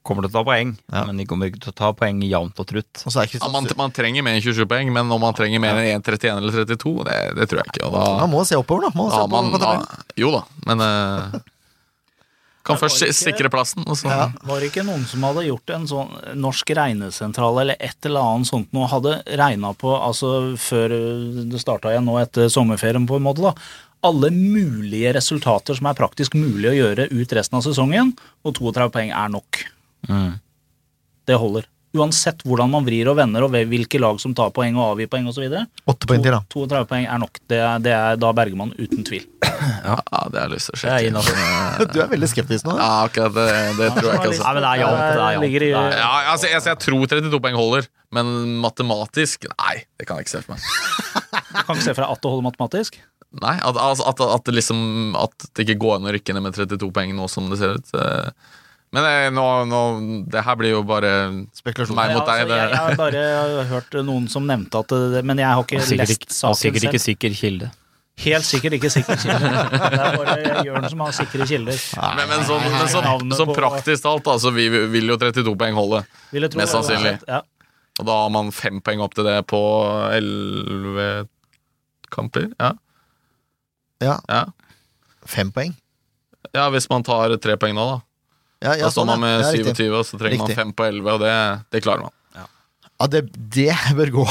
kommer til å ta poeng, Ja. men de kommer ikke til å ta poeng jevnt og trutt. Og så er Ja, man, Kristiansund man trenger mer enn 27 poeng, men om man trenger mer enn 1,31 eller 32, det, det tror jeg ikke. Og da, Man må se oppover, da. Man må se ja, oppover man, på da tabellen. jo da, men eh, Kan først si- sikre plassen, og så Ja. Var det ikke noen som hadde gjort en sånn norsk regnesentral eller et eller annet sånt noe, hadde regna på, altså før det starta igjen nå etter sommerferien på en måte, da, alle mulige resultater som er praktisk mulig å gjøre ut resten av sesongen, og 32 poeng er nok. Mm. Det holder. Uansett hvordan man vrir og vender og hvilke lag som tar poeng og avgir poeng osv. Åtte poeng til, da. 32 poeng er nok. Det er, det er da Bergman uten tvil. Ja, det har jeg lyst til å Det er sjekke. innenfor. Du er veldig skeptisk nå. Ja, akkurat det, det tror jeg ikke. Altså. Nei, men det er jevnt. Det er jevnt. Ligger i- Det er- Ja, altså, jeg, jeg tror 32 poeng holder, men matematisk Nei, det kan jeg ikke se for meg. Du kan ikke se for deg at det holder matematisk. Nei, At, altså, at, at, det liksom, at det ikke går an å rykke ned med 32 poeng nå som det ser ut. eh. Men eh, nå, nå Det her blir jo bare Spekulasjon. meg Ja, mot deg. altså, jeg, jeg Det, har bare hørt noen som nevnte at det, Men jeg har ikke Sikkert lest ikke, saken sikkert ikke selv. sikker kilde. Helt sikkert ikke sikre kilder. Det er bare Jørn som har sikre kilder. men, men sånn, men sånn, Navnet sånn på- praktisk talt, da, så vi, vil jo 32 poeng holde. Vil jeg tro Mest det var sannsynlig. sett. Ja. Og da har man fem poeng opp til det på elleve kamper. Ja. Ja, ja. fem poeng. ja, hvis man tar tre poeng nå, da. Ja, ja, Da står sånn, man med ja. Ja, riktig. 27, og så trenger Riktig. man fem på 11, og det, det klarer man. Ja, det, det bør gå.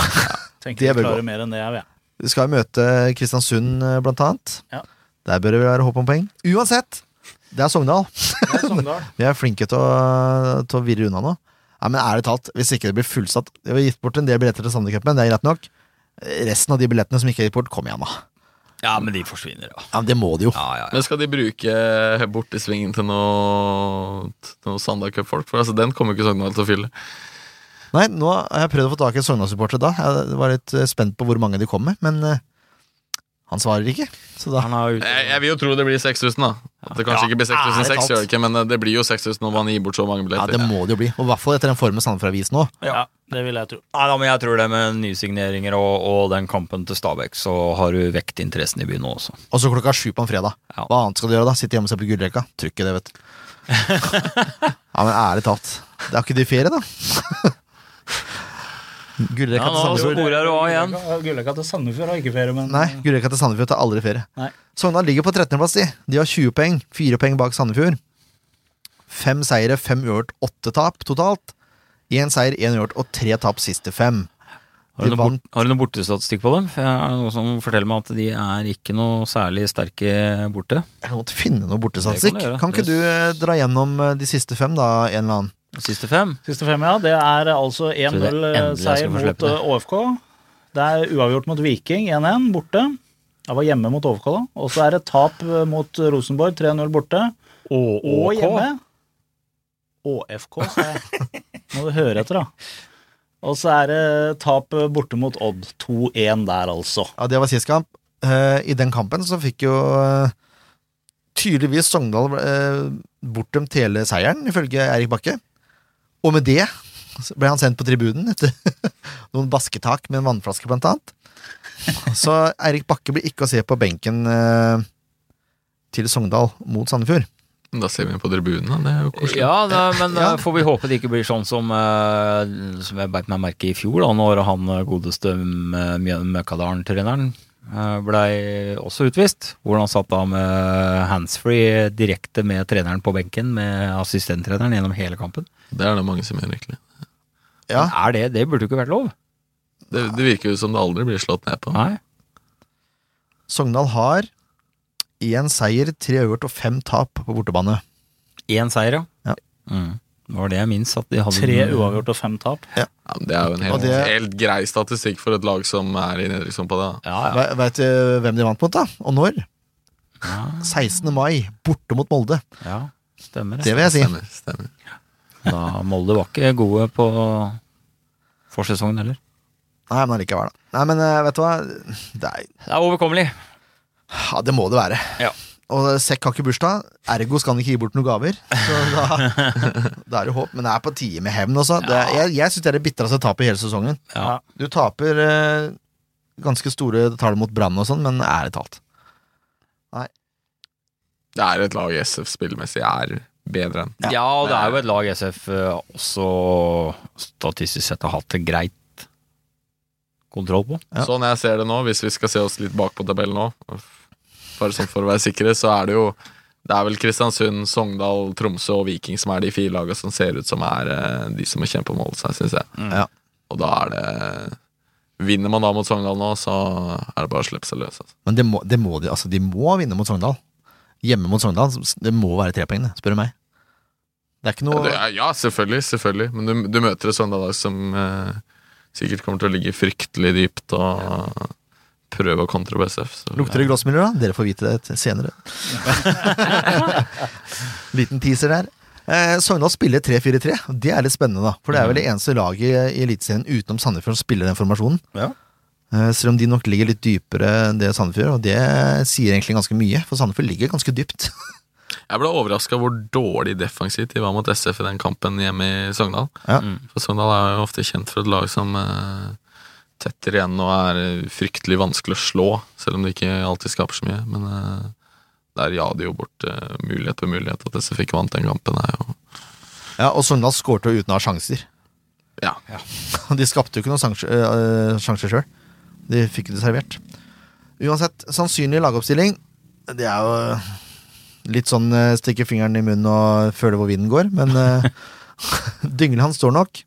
Tenker Det vi bør gå. klarer mer enn det, jeg vet. Vi skal møte Kristiansund, eh, blant annet. Ja. Der bør det vel være håp om poeng. Uansett, det er Sogndal. Det er Sogndal. Vi er flinke til å, til å virre unna nå. Nei, men ærlig talt, hvis ikke det blir fullsatt Vi har gitt bort en del billetter til Sandercupen, det er greit nok. Resten av de billettene som ikke er gitt bort, kom igjen, da. Ja, men de forsvinner, ja. Ja, men det må de jo. Ja, ja, ja. Men skal de bruke eh, bortesvingen til noe, til noe Sandal Cup-folk? For altså, den kommer jo ikke Sogndal til å fylle. Nei, nå har jeg prøvd å få tak i Sogndal-supportere da. Jeg var litt eh, spent på hvor mange de kom med, men eh, han svarer ikke. Så da Han er ute. Jeg, jeg vil jo tro det blir 6000, da. At det kanskje Ja, ikke blir ærlig 6006, talt. gjør det ikke, men eh, det blir jo 6000 når man gir bort så mange Ja, billetter. det må det jo bli. Og i hvert fall etter den formen Sandefjord har vist nå. Ja, det vil jeg tro. Nei da, men jeg tror det med nysigneringer og, og den kampen til Stabæk, så har du vekt interessen i byen nå også. Og så klokka sju på en fredag. Ja. Hva annet skal du gjøre da? Sitte hjemme og se på gullrekka? Tror ikke det, vet du. ja, men ærlig talt. Det er ikke de ferie, da. gullrekka Ja, til nå Sandefjord sporer du av igjen. Gulløkka til Sandefjord har ikke ferie, men Nei, gullrekka til Sandefjord tar aldri ferie. Nei. Sogndal ligger på 13.-plass, de. De har 20 poeng. 4 poeng bak Sandefjord. Fem seire, fem uavgjort, åtte tap totalt. Én seier, én uavgjort og tre tap siste fem. Har De du, noe bort, vant- har du noe bortestatistikk på dem? For jeg er noe som forteller meg at de er ikke noe særlig sterke borte. Jeg måtte finne noe Det bortesatsing. kan du gjøre. Kan ikke du eh, dra gjennom eh, de siste fem, da, en eller annen? Siste fem. Siste fem, ja. Det er altså Tror det er endelig jeg 1-0-seier skal få mot slippe det. eh, OFK. Det er uavgjort mot Viking, 1-1, borte. Jeg var hjemme mot OFK, da. Og så er det tap eh, mot Rosenborg, 3-0 borte. Og, Og hjemme. ÅFK, sa jeg. Må du høre etter, da. Og så er det tap eh, borte mot Odd. 2-1 der, altså. Ja, det var sist kamp. Eh, I den kampen så fikk jo eh, tydeligvis Sogndal uh, bortdømt hele seieren, ifølge Eirik Bakke. Og med det så ble han sendt på tribunen etter noen basketak med en vannflaske, blant annet. Så Eirik Bakke blir ikke å se på benken eh, til Sogndal mot Sandefjord. Da ser vi på tribunen, da. Det er jo koselig. Ja, da, men Ja. eh, får vi håpe det ikke blir sånn som, eh, som jeg beit meg merke i fjor, da når han eh, godeste M- Mjø- Møkkadalen-treneren eh, blei også utvist. Hvor han satt da med handsfree direkte med treneren på benken, med assistenttreneren gjennom hele kampen. Det er det mange som gjør, egentlig. Ja. Er det, det burde jo ikke vært lov. Det, det virker jo som det aldri blir slått ned på. Nei. Sogndal har én seier, tre øvert og fem tap på bortebane. Én seier, Ja. Mm. Det var det jeg minst at de hadde. Tre uavgjort og fem tap. Ja, men det er jo en Og helt, det- helt grei statistikk for et lag som er i nedrykkssonen på det. da. Ja, ja. Ja. Veit du hvem de vant mot, da? Og når? Ah. 16. mai, borte mot Molde. ja. Stemmer det. Det vil jeg si. Stemmer, stemmer. Da Molde var ikke gode på forsesongen heller. Nei, men allikevel, da. Nei, men eh, vet du hva? Det, er, Det er overkommelig. ja, det må det være. Ja. Og Sekk har ikke bursdag, ergo skal han ikke gi bort noen gaver. Så da, da er det håp. Men det er på tide med hevn også. Det, er- jeg jeg syns det er det bitreste tapet i hele sesongen. Ja. Du taper eh, ganske store tall mot Brann og sånn, men ærlig talt. Det er et lag SF spillmessig er bedre enn. Ja, og det er jo et lag SF eh, også statistisk sett har hatt en greit kontroll på. Ja. Sånn jeg ser det nå, hvis vi skal se oss litt bak på tabellen nå, bare sånn for å være sikre, så er det jo Det er vel Kristiansund, Sogndal, Tromsø og Viking som er de fire lagene som ser ut som er eh, de som må kjempe om å holde seg, syns jeg. Ja. Og da er det Vinner man da mot Sogndal nå, så er det bare å slippe seg løs. Altså. Men det må, det må de, altså, de må vinne mot Sogndal. Hjemme mot Sogndal. Det må være tre poeng, det, spør du meg. Det er ikke Ja, noe det er- ja, selvfølgelig, selvfølgelig. Men du, du møter et Sogndal som eh, sikkert kommer til å ligge fryktelig dypt og prøve å kontre BSF. Så, Lukter det glassmiljø, da? Dere får vite det senere. Liten teaser der. Eh, Sogndal spiller 3-4-3. Det er litt spennende, da. For det er vel det eneste laget i Eliteserien utenom Sandefjord som spiller den formasjonen. Ja. Eh, selv om de nok ligger litt dypere enn det Sandefjord, og det sier egentlig ganske mye. For Sandefjord ligger ganske dypt. Jeg ble overraska hvor dårlig defensivt de var mot SF i den kampen hjemme i Sogndal. Ja. For Sogndal er jo ofte kjent for et lag som eh, tetter igjen og er fryktelig vanskelig å slå, selv om de ikke alltid skaper så mye. Men eh, der ja de jo bort eh, mulighet på mulighet. At SF ikke vant den kampen, er jo Ja, Og Sogndal skårte uten å ha sjanser. Ja. De skapte jo ikke noen sanks- øh, sjanser sjøl. De fikk det servert. Uansett, sannsynlig lagoppstilling. Det er jo eh, litt sånn øh, stikke fingeren i munnen og føle hvor vinden går, men øh, Dyngeland står nok.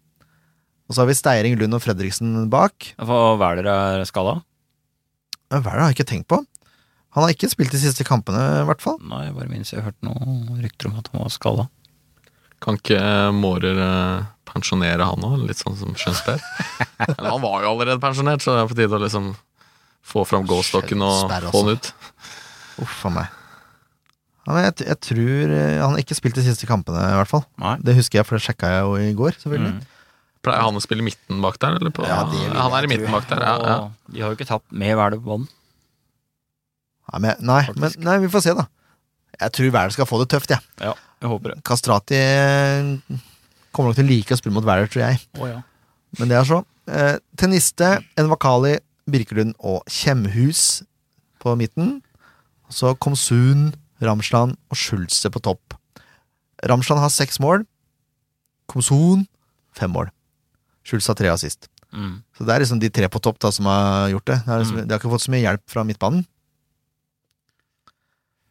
Og så har vi Steiring, Lund og Fredriksen bak. Hva Hvaler er skada? Men Hva er det har jeg ikke tenkt på? Han har ikke spilt de siste kampene, i hvert fall. Nei, jeg bare minnes jeg hørte noen rykter om at han var skada. Kan ikke Mårer eh, pensjonere han òg, litt sånn som Schønsberg? Eller han var jo allerede pensjonert, så det er på tide å liksom få fram gåstokken og Schjønsberg, få han ut. Uff a meg. Ja, men jeg, t- jeg tror øh, han har ikke spilt de siste kampene, i hvert fall. Nei. Mm. Det husker jeg, for det sjekka jeg jo i går, selvfølgelig. Pleier han å spille midten bak der? Eller på? Ja, det vil han er i jeg midten tro. bak der, ja. ja. Og De har jo ikke tapt med Hvaler på banen. Nei, men, nei, men, nei, vi får se, da. Jeg tror Wæler skal få det tøft, jeg. Jeg håper det. Kastrati eh, kommer nok til å like å spille mot Wæler, tror jeg. Å ja. Men det er så. Eh, Tenniste, Envakali, Birkelund og Kjemhus på midten. Så Komsun, Ramsland og Schulze på topp. Ramsland har seks mål. Komsun fem mål. Schulze har tre assist. Mm. Så det er liksom de tre på topp da som har gjort det. det er Mm. liksom, De har ikke fått så mye hjelp fra midtbanen.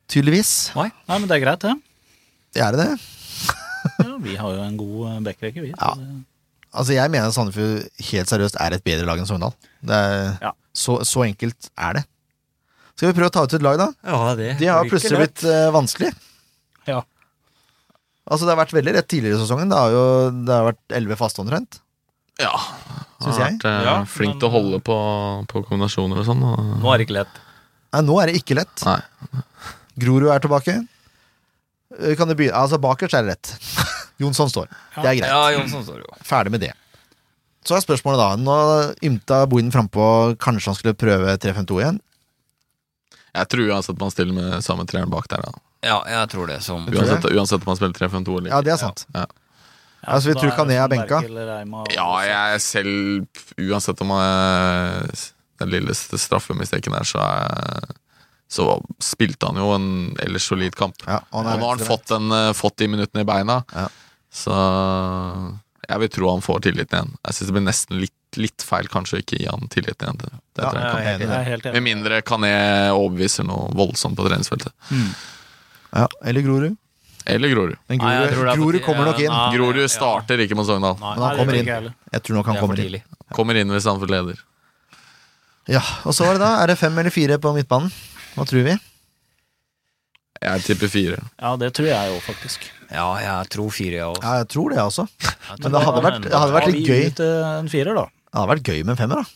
Tydeligvis. Nei, men det er greit, det. Det er det det. Ja, vi har jo en god eh, backrekke, vi. Ja. Så det- Altså Jeg mener Sandefjord helt seriøst er et bedre lag enn Sogndal. Det er, Ja. så, så enkelt er det. Skal vi prøve å ta ut et lag, da? Det har plutselig blitt eh, vanskelig. Ja. Altså Det har vært veldig rett tidligere i sesongen. Det har jo det har vært elleve faste omtrent. Ja, han Synes har jeg. vært eh, Ja, flink men- til å holde på, på kombinasjoner og sånn. Og... Nå er det ikke lett. Nei, nå er det ikke lett. Nei. Grorud er tilbake. Eh, Kan det begynne? Altså Bakerst er det rett. Jonsson står. Det er greit. Ja, Jonsson står jo. Ferdig med det. Så er spørsmålet da Nå ymta Bohinen frampå. Kanskje han skulle prøve 3-5-2 igjen? Jeg tror uansett man stiller med samme treeren bak der. Da. Ja, jeg tror det som tror Uansett, uansett om man spiller 3-5-2 eller Ja, ikke. det er sant. Ja. Ja, så Altså, vi da tror Kané det er sånn benka. Berkel, Reima og- Ja, jeg selv Uansett om man er den lilleste straffemisteken der, så, er, så spilte han jo en ellers solid kamp. Ja, og og nå har han venstre- fått, den, eh, fått de minuttene i beina, Ja. så jeg vil tro han får tilliten igjen. Jeg syns det blir nesten litt, litt feil kanskje å ikke gi han tilliten igjen. Det, det Ja, tror jeg ja, kan. ja. Jeg er helt Med enig. mindre Kané overbeviser noe voldsomt på treningsfeltet. Ja, eller Grorud. Eller Grorud. Men Nei, jeg Grorud, tror det er for Grorud tidlig. kommer nok inn. Ja, nei, Grorud ja. starter ikke mot Sogndal. Nei, Men han Nei, kommer det tror inn. ikke jeg heller. Jeg tror nok det han er for kommer inn. tidlig. Kommer inn hvis han får leder. Ja, Og så var det da. Er det fem eller fire på midtbanen? Hva tror vi? Jeg tipper fire. Ja, det tror jeg òg, faktisk. Ja, jeg tror fire, jeg også. Ja, jeg tror det, altså. jeg også. Det Men Jeg tror det hadde vært- det hadde vært- Tar litt vi gøy. ut, eh, En firer, da. hadde vært gøy med en femmer, da.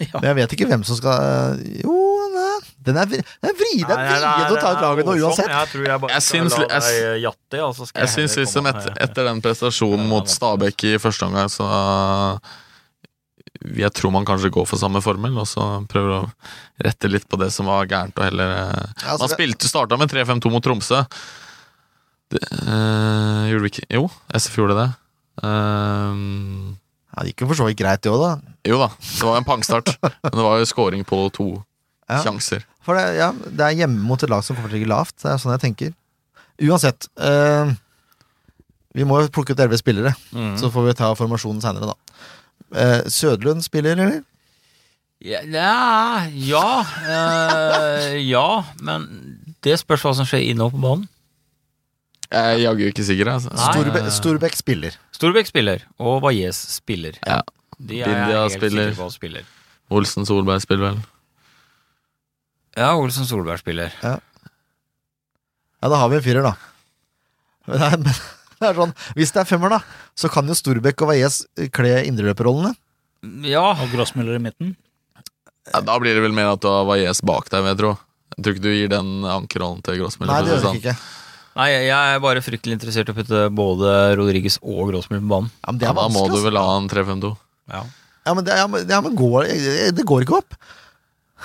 Ja. Men jeg vet ikke hvem som skal Jo, nei. Den er, vri- den er vrien Nei, nei, nei, å ta ut det er laget nå, Åsson. uansett. Jeg tror jeg bare Jeg skal syns- la jeg s- deg jatte, og så skal Jeg heller syns liksom komme et, med- etter den prestasjonen mot Stabæk i første omgang, så Jeg tror man kanskje går for samme formel, og så prøver å rette litt på det som var gærent, og heller eh, Ja, altså, Man det- spilte, starta med 3-5-2 mot Tromsø. Det, eh, gjorde vi ikke Jo, SF gjorde det. Eh, Ja, det gikk jo for så vidt greit, det òg, da. Jo da, det var en pangstart. Men det var jo scoring på to Ja. sjanser. For det, ja, det er hjemme mot et lag som fortsatt ligger lavt. Det er sånn jeg tenker. Uansett. eh, vi må jo plukke ut elleve spillere, så får vi ta formasjonen seinere, da. Eh, Sødlund spiller, eller? Ja, ja, ja, eh, ja, men det spørs hva som skjer inne og på banen. Jeg er jaggu ikke sikker. Altså. Nei. Storbe Storbekk spiller. Storbekk spiller, og Valles spiller. Ja. De er jeg Bindia helt spiller. sikker på at spiller. Olsen Solberg spiller vel. Ja, Olsen Solberg spiller. Ja, da har vi en firer, da. Men det er, men det er sånn, hvis det er femmer, da, så kan jo Storbekk og Valles kle indreløperrollene. Ja, Og Grossmuller i midten. Ja, da blir det vel mer at du har Valles bak deg, vil jeg tro. Jeg tror ikke du gir den ankerrollen til Grossmiller. Nei, det for å si gjør vi sånn. ikke. nei, jeg er bare fryktelig interessert i å putte både Rodriguez og Grossmiller på banen. Ja, men det Ja, er da må vanskelig. du altså. vel ha en 3-5-2. Ja, men, det, ja, men, ja, men går, det går ikke opp.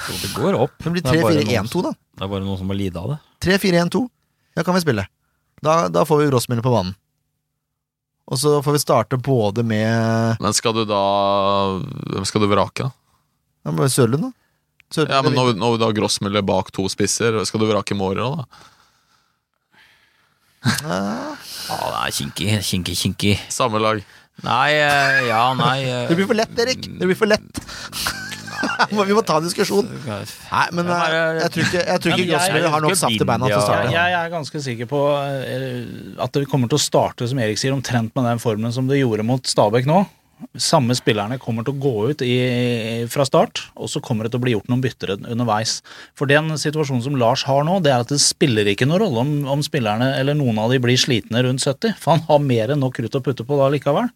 Jo, det går opp. Det blir Det er bare noen 3-4-1-2, da. Det er bare noen som må lide av det. 3-4-1-2. Ja, kan vi spille. Da, da får vi Rossmiller på banen. Og så får vi starte både med Men skal du da Hvem skal du vrake, da? ja, med Sørlund, da. Sørlund, Ja, men eller- Når, når du har Grossmiller bak to spisser, skal du vrake Mårer òg, da? Ja. Ja, det er kinky, kinky, kinky. Samme lag. Nei, eh, ja, nei eh, Det blir for lett, Erik! Det blir for lett. Må- vi må ta en diskusjon. Nei, men Ja, bare- eh, jeg tror ikke, jeg tror Men ikke jeg- Grossmiller har nok saft i beina til å Ja, Jeg, starte. jeg er ganske sikker på eh, at det kommer til å starte, som Erik sier, omtrent med den formen som det gjorde mot Stabæk nå. Samme spillerne kommer til å gå ut i, fra start, og så kommer det til å bli gjort noen bytter underveis. For den situasjonen som Lars har nå, det er at det spiller ikke noen rolle om, om spillerne eller noen av de blir slitne rundt 70, for han har mer enn nok krutt å putte på da likevel.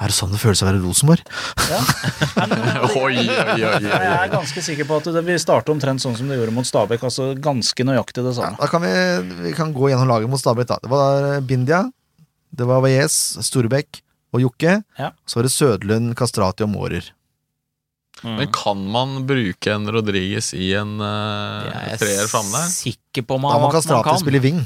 Er det sånn det føles å være Rosenborg? Oi, oi, oi, oi. Jeg er ganske sikker på at det vil starte omtrent sånn som det gjorde mot Stabæk, altså ganske nøyaktig det samme. Da kan vi, vi kan gå gjennom laget mot Stabæk. da. Det var eh, Bindia, det var Valles, Storbekk og Jokke. Ja. Så var det Sødlund, Kastrati og Mårer. Men kan man bruke en Rodriguez i en uh, Jeg treer er framme der? sikker på Da man, må at man Kastrati kan. spille wing.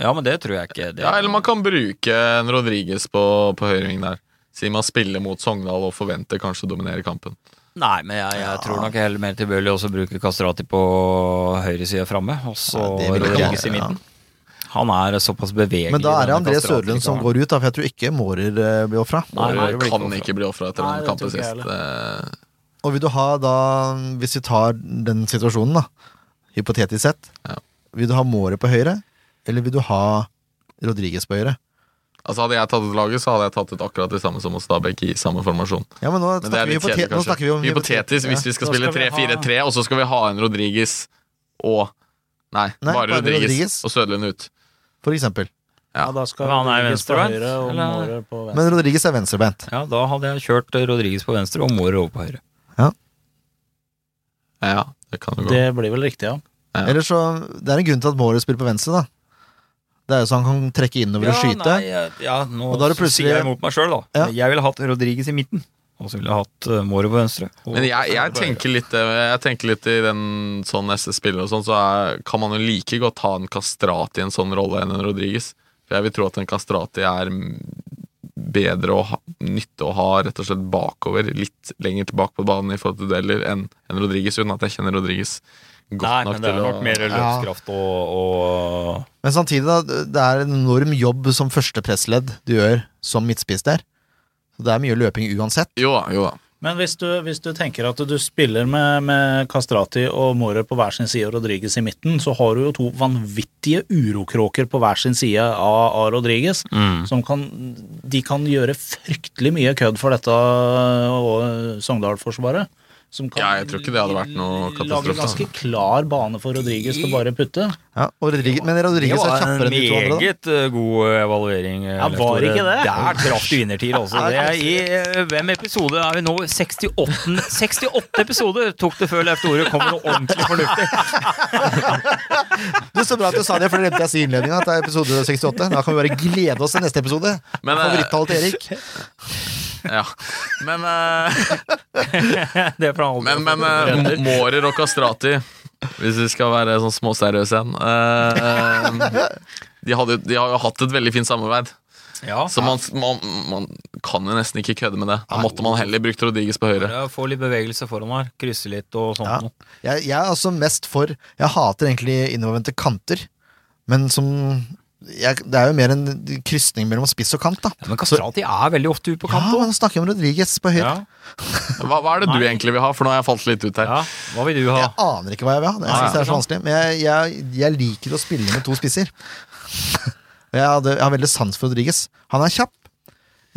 Ja, men det tror jeg ikke. Det, Ja, eller man kan bruke en Rodriguez på, på høyreving der. Siden man spiller mot Sogndal og forventer kanskje å dominere kampen. Nei, men jeg, jeg tror nok heller mer tilbøyelig også å bruke Kastrati på høyre side framme, og så Ja, det vil jeg Rodriguez gjerne, i midten. Han er såpass bevegelig. Men da er det denne André Kastrati, Sødlund som kan- går ut, da, for jeg tror ikke Mårer eh, blir ofra. Nei, nei, Mårer det blir kan ikke ikke bli ofra etter Nei, den det kampen tror ikke jeg sist. Eh, Og vil du ha da, hvis vi tar den situasjonen, da, hypotetisk sett, Ja. vil du ha Mårer på høyre, eller vil du ha Rodriguez på høyre? Altså Hadde jeg tatt ut laget, så hadde jeg tatt ut akkurat det samme som hos Stabæk i samme formasjon. Ja, men nå Men det snakker, er vi, litt kjedelig, hypotet nå snakker vi kanskje. om Hypotetisk, hvis ja. vi skal Da spille skal vi ha- 3-4-3, og så skal vi ha en Rodriguez og Nei, Nei, bare bare Rodriguez Rodriguez. og Sødlund ut. For eksempel. Ja, Ja. da skal Men han er Rodriguez på venstrebeint, høyre og eller? Mårer på venstre. Men Rodriguez er venstrebeint. Ja, da hadde jeg kjørt eh, Rodriguez på venstre og Moore over på høyre. Ja, det kan jo gå. Det blir vel riktig, ja. Ja. Eller så, Det er en grunn til at Mårer spiller på venstre, da. Det er jo så han kan trekke innover og skyte. Nei, jeg- ja, nå Og da er det plutselig- sier jeg imot meg sjøl, da. Ja. Jeg ville hatt Rodriguez i midten, og så ville jeg hatt eh, Moore på venstre. og- Men jeg, jeg, tenker litt, eh, jeg tenker litt i den sånn SS-spiller og sånn, så er, kan man jo like godt ha en Kastrati i en sånn rolle enn en Rodriguez. For jeg vil tro at en Kastrati er mm, bedre å ha, nytte å ha rett og slett bakover, litt lenger tilbake på banen i forhold til dueller, enn en Rodriguez, uten at jeg kjenner Rodriguez godt Nei, nok men det er til nok å mer løpskraft og, og Men samtidig, da, det er en enorm jobb som første pressledd du gjør som midtspiss der. Så det er mye løping uansett. Jo da, jo da. Men hvis du, hvis du tenker at du spiller med, med Kastrati og Mårer på hver sin side og Rodriguez i midten, så har du jo to vanvittige urokråker på hver sin side av, av Rodriguez. Som kan, de kan gjøre fryktelig mye kødd for dette og Sogndal-forsvaret. Som kan Ja, jeg tror ikke det hadde vært noe katastrofe, Lage ganske klar bane for Rodriguez til å bare putte. Ja, og Rodriguez, men Rodriguez er kjappere enn de to andre. da. meget eh, god evaluering. eh, Ja, Leif var Tore. ikke det? Der traff du innertier, altså. Det er i eh, hvem episode er vi nå? 68, 68 episoder tok det før Leif Tore kom med noe ordentlig fornuftig. Du, Så bra at du sa det, for det glemte jeg å si i innledninga. At det er episode 68. Da kan vi bare glede oss til neste episode. Men, eh, Favorittallet til Erik. Ja. Men, eh, Det er fra alle. men, men eh, Mårer og Kastrati, hvis vi skal være sånn småseriøse igjen eh, eh, de, hadde, de har jo hatt et veldig fint samarbeid. Ja. Så man, man, man kan jo nesten ikke kødde med det. Da måtte man heller brukt Rodriguez på høyre. Bare Få litt bevegelse foran her. Krysse litt og sånt Ja. noe. Jeg, jeg er altså mest for Jeg hater egentlig innovervendte kanter, men som jeg, Det er jo mer en krysning mellom spiss og kant, da. Ja, men Kastrati er veldig ofte ute på Ja, kant òg. man snakker om Rodriguez på høyre. Ja. Hva, hva er det du egentlig vil ha? For nå har jeg falt litt ut her. Ja. Hva vil du ha? Jeg aner ikke hva jeg vil ha. Jeg Nei, synes det er så ikke vanskelig Men jeg, jeg, jeg liker å spille med to spisser. Og Jeg, hadde, jeg har veldig sans for Rodriguez. Han er kjapp,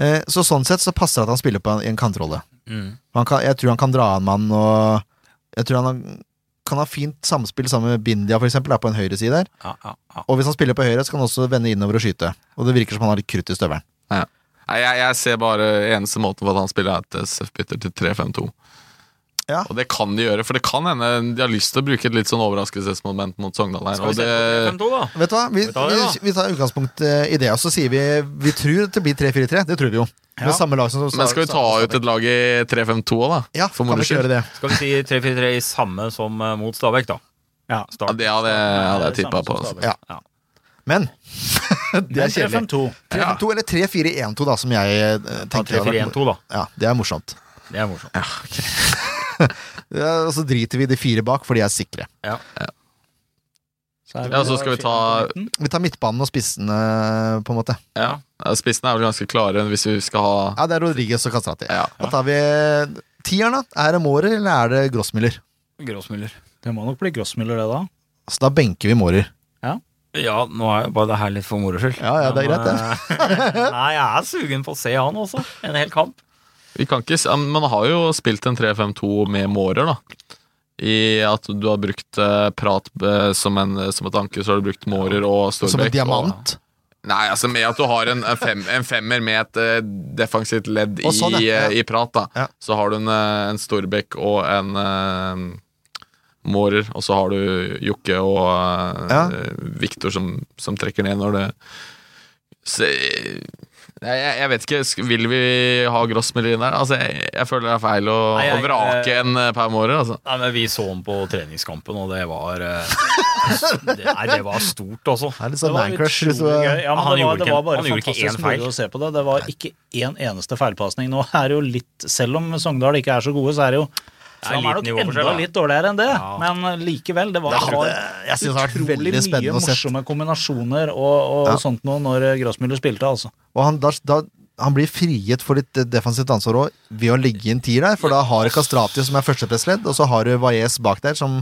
eh, så sånn sett så passer det at han spiller på en, i en kantrolle. Han kan, jeg tror han kan dra en mann, og jeg tror han har- kan ha fint samspill sammen med Bindia, for eksempel, er på en høyre side der. Ja, ja, ja. Og hvis han spiller på høyre, så kan han også vende innover og skyte. Og det virker som han har litt krutt i støvelen. Nei, jeg, jeg ser bare eneste måten for at han spiller, er at SF bytter til 3-5-2. Ja. Og det kan de gjøre, for det kan hende de har lyst til å bruke et litt sånn overraskelsesmoment mot Sogndal her. Skal vi Og se det, på 3-5-2 da? Vet du hva? Vi, Vi tar det, da. vi, vi tar utgangspunkt eh, i det, og så sier vi vi tror at det blir 3-4-3. Det tror vi jo. Med samme lag som men skal vi ta ut et lag i 3-5-2 òg, da? Ja, for kan vi moro ikke skyld. gjøre det? Skal vi si 3-4-3 i samme som eh, mot Stabæk, da? Ja. Ja, Start. det hadde, hadde jeg Samme tippa som på. altså. Stabæk. Ja. Men det er kjedelig. 3-5-2. altså. 3-5-2 eller 3-4-1-2, da, som jeg eh, Ta tenker. hadde vært mor- 3-4-1-2, da. Ja, det er morsomt. Det er morsomt. Ja, og så driter vi i de fire bak, for de er sikre. Så er det Ja, så skal vi ta- på midten. Vi tar midtbanen og spissene, på en måte. Ja. Spissene er vel ganske klare hvis vi skal ha Ja, det er Rodriguez og Kastrati. Ja. Da tar vi eh, tieren, da. Er det Mårer, eller er det Grossmüller? Gråsmuller. Det må nok bli Grossmüller, det da. Så Altså, da benker vi Mårer. Ja, nå er jo bare det her litt for moro skyld. Ja, ja, eh, det er greit, det. eh, Nei, jeg er sugen på å se han også. En hel kamp. Vi kan ikke, s- ja, men Man har jo spilt en 3-5-2 med mårer, da. I at du har brukt eh, Prat eh, som, en, som et anker, så har du brukt mårer og Storbekk. Som en og- diamant. Nei, altså med at du har en, en, fem, en femmer med et eh, defensivt ledd Å, sånn, i, ja. eh, i Prat, da. Ja. Så har du en, eh, en Storbekk og en eh, Mårer, og så har du Jokke og eh, Ja. Viktor som, som trekker ned når det så, Nei, jeg, jeg vet ikke. sk- Vil vi ha Grossmiller inn der? Altså, jeg, jeg føler det er feil å, Nei, jeg- å vrake eh, en eh, Per Mårer, altså. Nei, men Vi så han på treningskampen, og det var eh, det, Nei, det var stort, altså. Det er litt Det sånn var Mancrush. utrolig gøy. Ja, men Han det, var, det var gjorde ikke- bare han gjorde ikke fantastisk én feil. moro å se på det. Det var ikke én eneste feilpasning. Nå er det jo litt, selv om Sogndal ikke er så gode, så er det jo er så han er litt nok nivåforskjell, enda da. litt dårligere enn det, Ja. men eh, likevel. Det var, Det det hadde, var jeg synes det har vært utrolig veldig mye spennende å se. morsomme kombinasjoner og, og Ja. sånt noe når Grossmüller spilte, altså. Og han, da, da, han blir frigitt for litt eh, defensivt ansvar òg, ved å ligge i en tier der. For da har du Kastrati som er førstepressledd, og så har du Valles bak der, som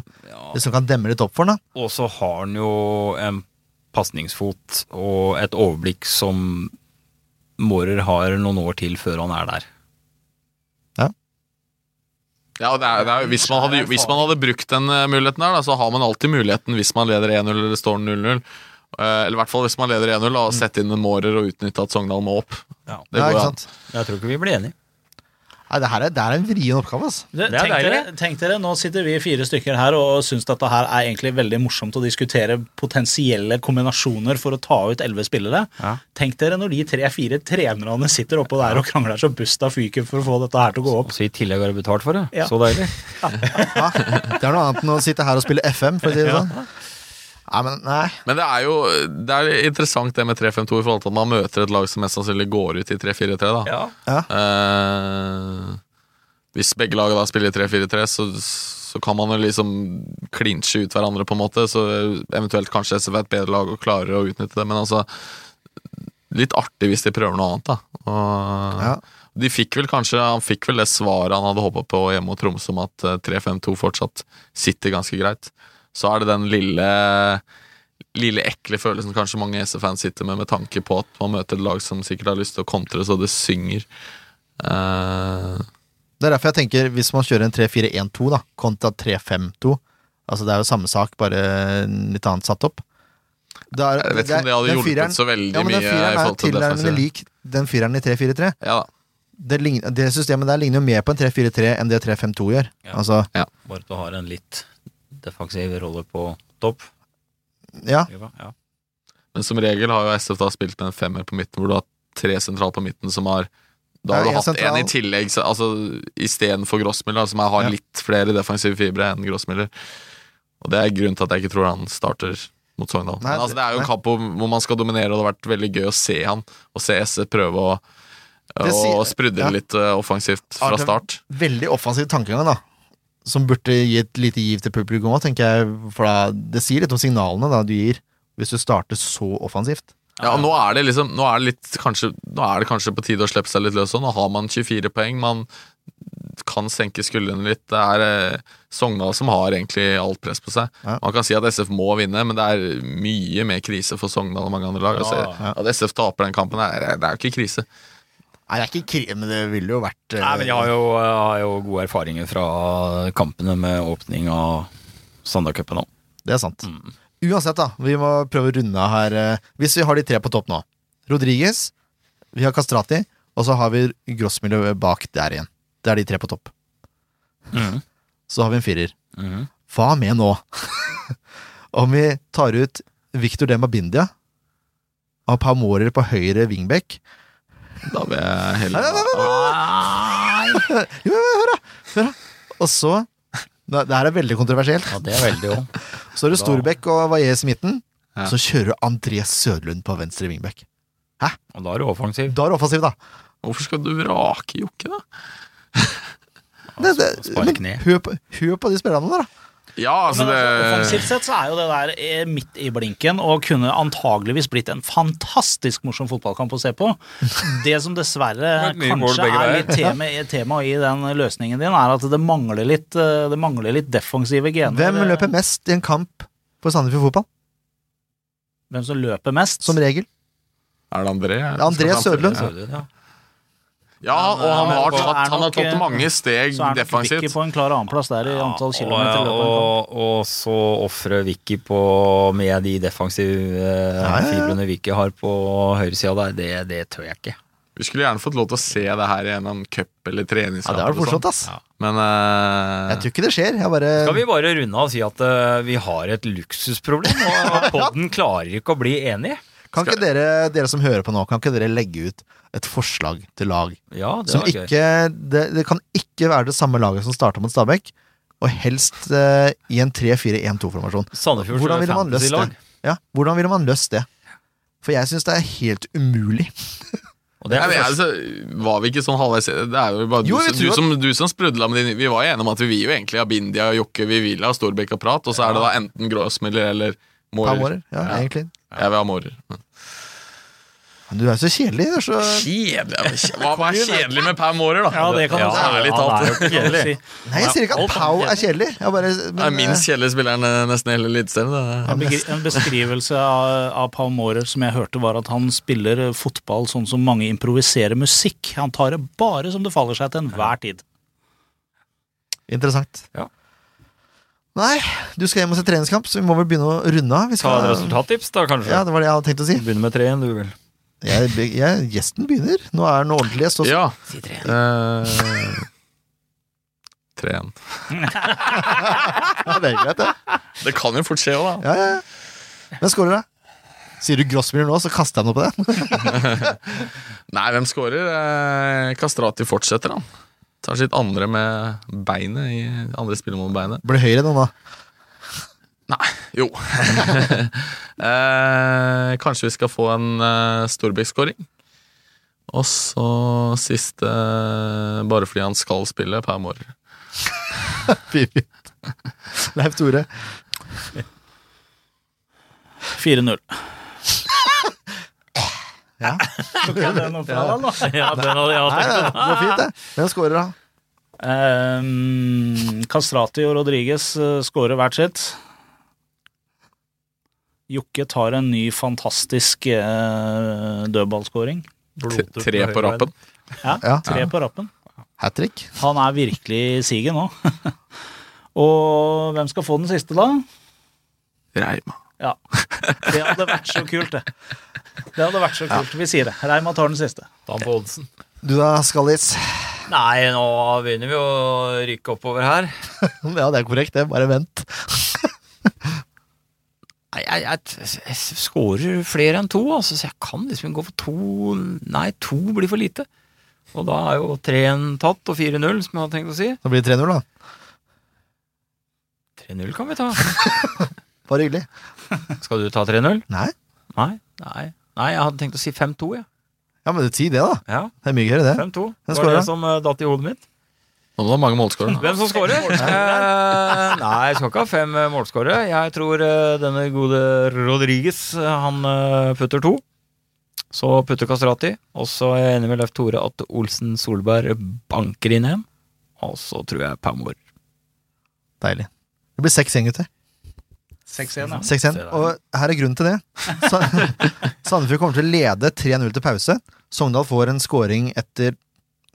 liksom kan demme litt opp for han. da. Og så har han jo en pasningsfot og et overblikk som Mårer har noen år til før han er der. Ja, og det er, det er, jo- hvis, man hadde, hvis man hadde brukt den eh, muligheten der, da, så har man alltid muligheten hvis man leder 1-0 eller det står 0-0. Eh, Eller i hvert fall hvis man leder 1-0, da, å sette inn en mårer og utnytte at Sogndal må opp. Ja. Det Ja, går ikke jo an. sant? Jeg tror ikke vi blir enige. Nei, det her er, det er en vrien oppgave, altså. Det, Det er tenk, dere, deilig. tenk dere, nå sitter vi fire stykker her og syns dette her er egentlig veldig morsomt å diskutere potensielle kombinasjoner for å ta ut elleve spillere. Ja. Tenk dere når de tre-fire trenerne sitter oppå der og krangler så busta fyker for å få dette her til å gå opp. Og så i tillegg har du betalt for det. Ja. Så deilig. Ja, det er noe annet enn å sitte her og spille FM, for å si det sånn. Nei, men nei. Men det er jo det er interessant det med 3-5-2 i forhold til at man møter et lag som mest sannsynlig går ut i 3-4-3. da. Ja. Eh, hvis begge lag da spiller 3-4-3, så, så kan man jo liksom klinsje ut hverandre, på en måte. Så eventuelt kanskje SF er et bedre lag og klarer å utnytte det, men altså Litt artig hvis de prøver noe annet, da. Og, Ja. De fikk vel kanskje Han fikk vel det svaret han hadde håpa på hjemme mot Tromsø, om at eh, 3-5-2 fortsatt sitter ganske greit. Så er det den lille Lille ekle følelsen kanskje mange SF-fans sitter med, med tanke på at man møter et lag som sikkert har lyst til å kontre så det synger. Eh, Det er derfor jeg tenker, hvis man kjører en 3-4-1-2 da, kontra 3-5-2, altså det er jo samme sak, bare litt annet satt opp. Det er- jeg vet ikke om det hadde den hjulpet fireren- så veldig ja, men mye. Den fireren er i jo forhold til det tilnærmende defensive. lik den fireren i 3-4-3. Ja da. Det, lign- det systemet der ligner jo mer på en 3-4-3 enn det 3-5-2 gjør. Altså, Bare at du har en litt defensiv rolle på topp. ja, Ja. Men som regel har jo SF da spilt med en femmer på midten, hvor du har tre sentralt på midten som har Da Ja, har du en hatt sentral. en i tillegg, så- altså istedenfor Grossmiller, som har Ja. litt flere defensive fibre enn Grossmiller. Og det er grunnen til at jeg ikke tror han starter mot Sogndal. Nei, Men altså, det er jo en nei. kamp hvor- hvor man skal dominere, og det har vært veldig gøy å se han og se SE prøve å, Det sier- å sprudle ja. litt eh, offensivt fra Arne- start. Veldig offensiv tankegang, da. Som burde gi et lite giv til publikum òg, tenker jeg. For da, det sier litt om signalene da, du gir, hvis du starter så offensivt. Ja, og nå er det liksom Nå er det, litt, kanskje, nå er det kanskje på tide å slippe seg litt løs. og Nå har man 24 poeng. Man kan senke skuldrene litt. Det er eh, Sogndal som har egentlig alt press på seg. Ja. Man kan si at SF må vinne, men det er mye mer krise for Sogndal og mange andre lag. Altså, At SF taper den kampen, det er, det er jo ikke krise. Nei, det er ikke krim, men det ville jo vært eh, Nei, men jeg har jo, jeg har jo gode erfaringer fra kampene med åpning av Sandalcupen òg. Det er sant. Mm. Uansett, da. Vi må prøve å runde av her. eh, Hvis vi har de tre på topp nå. Rodriges, vi har Kastrati, og så har vi Grossmiljø bak der igjen. Det er de tre på topp. Mm. Så har vi en firer. Mhm. Hva med nå? Om vi tar ut Victor Demabindia og Pamorer på høyre wingback Da vil jeg Nei, nei, heller Jo, jo, hør, da! Hør, da. Og så Nei, Det her er veldig kontroversielt. Ja, det er veldig òg. Så er det Storbekk og Vajez i midten. Så kjører du André Sødlund på venstre wingback. Og da er du offensiv. Da er det offensiv, da. Hvorfor skal du vrake Jokke, da? Det, det, spark men ned. hør på, hør på de spillerne der, da. Ja, altså Men det altså, offensivt sett så er jo det der eh, midt i blinken og kunne antageligvis blitt en fantastisk morsom fotballkamp å se på. Det som dessverre Det har vært mye mål kanskje begge er veier. litt tema, tema i den løsningen din, er at det mangler litt, eh, det mangler litt defensive gener. Hvem løper mest i en kamp for Sandefjord fotball? Eh, Hvem som løper mest? Som regel. Er det André? André Sødlund. Ja. Ja, og han Men, har eh, tatt, er han har nok, tatt eh, mange steg så er nok Vicky defensivt. på en klar annenplass der i antall kilometer. og, løpet han kan. og, og så ofrer Vicky på med de defensive eh, Ja, ja, ja. fibrene Vicky har på høyresida der. Det, det tør jeg ikke. Vi skulle gjerne fått lov til å se det her i en eller annen cup eller Ja, treningskamp. det er eller jo fortsatt, sånn. ass. Men eh, Jeg tror ikke det skjer. Jeg bare Skal vi bare runde av og si at eh, vi har et luksusproblem, og podden klarer ikke å bli enig? Kan ikke dere, dere som hører på nå, kan ikke dere legge ut et forslag til lag? Ja, det Som var gøy. ikke det, det kan ikke være det samme laget som starta mot Stabæk, og helst eh, i en 3-4-1-2-formasjon. Sandefjord Hvordan ville man løst det? fantasy-lag. Ja, hvordan ville man løst det? For jeg syns det er helt umulig. Og det Nei, er men, for altså, var vi ikke sånn halvveis Det er jo bare Jo, du, jeg som- tror du, at- som, du som sprudla med din Vi var jo enige om at vi vil jo egentlig ha Bindia og Jokke, vi vil ha Storbekk og Prat, og så er det da enten Gråsmiller eller Par Mårer. måneder, ja, Ja. egentlig. Jeg vil ha Mårer. Men- Men du er så kjedelig. Du er så Kjedelig Hva hva er kjedelig med Per Mårer, da? Ja, det kan Ja, du si. Ærlig Ja, det talt. er jo ikke kjedelig. Si. Nei, jeg sier ikke at Alt Pau er kjedelig. Jeg bare, men, Det er minst kjedelige spilleren eh, nesten i hele Eliteserien. det. En, begri- en beskrivelse av, av Paul Maurer som jeg hørte, var at han spiller eh, fotball sånn som mange improviserer musikk. Han tar det bare som det faller seg til enhver tid. eh, interessant. Ja. Nei, du skal hjem og se treningskamp, så vi må vel begynne å runde av. Vi Ta et skal, resultattips, da, kanskje. ja, det var det jeg hadde tenkt å si. Begynne med treen, du vel. Jeg, jeg, gjesten begynner. Nå er den ordentlig gjest også. Ja. Eh, 3-1. Ja, det er greit, det. Det kan jo fort skje òg, da. Ja, ja, ja. Men skåler, da? Sier du Grossmiller nå, så kaster jeg noe på det. Nei, hvem skårer? Eh, Kastrati fortsetter, han. Tar sitt andre med beinet i andre spillet mot beinet. Blir høyere nå, da. Jo. eh, kanskje vi skal få en eh, Storbekk-skåring. Og så siste eh, bare fordi han skal spille per morgen. Fy, fy. Leif Tore. 4-0. Ja. Tok jeg den opp fra deg nå? Ja, den hadde jeg Nei, det går fint, det. Hvem skårer, da? Ehm, Kastrati og Rodriges skårer hvert sitt. Jokke tar en ny fantastisk eh, dødballskåring. T- Tre på rappen. Ja, Ja. tre på rappen. Hat trick. Han er virkelig i siget nå. og hvem skal få den siste, da? Reima. Ja. Det hadde vært så kult, det. Det hadde vært så kult. Vi sier det. Reima tar den siste. Ta på oddsen. Du da, Skallis? Nei, nå begynner vi å rykke oppover her. Ja, det er korrekt, det. Bare vent. Nei, jeg, jeg, jeg skårer flere enn to, altså, så jeg kan liksom gå for to Nei, to blir for lite. Og da er jo 3-1 tatt, og 4-0, som jeg hadde tenkt å si. Da blir det 3-0, da. 3-0 kan vi ta. Bare hyggelig. Skal du ta 3-0? Nei? Nei. Nei. Nei, jeg hadde tenkt å si 5-2, jeg. Ja, men si det, da. Ja. Det er mye gøyere, det. 5-2. Den Det var skårer. det som eh, datt i hodet mitt. Og det var mange målskårere. da. Hvem som skårer? Eh, nei, jeg skal ikke ha fem eh, målskårere. Jeg tror eh, denne gode Rodriges, han eh, putter to. Så putter Kastrati. Og så er jeg enig med Leif Tore at Olsen Solberg banker inn en. Og så tror jeg Pamor. Deilig. Det blir 6-1, gutter. 6-1, ja. 6-1. Og her er grunnen til det. Sa- Sandefjord kommer til å lede 3-0 til pause. Sogndal får en scoring etter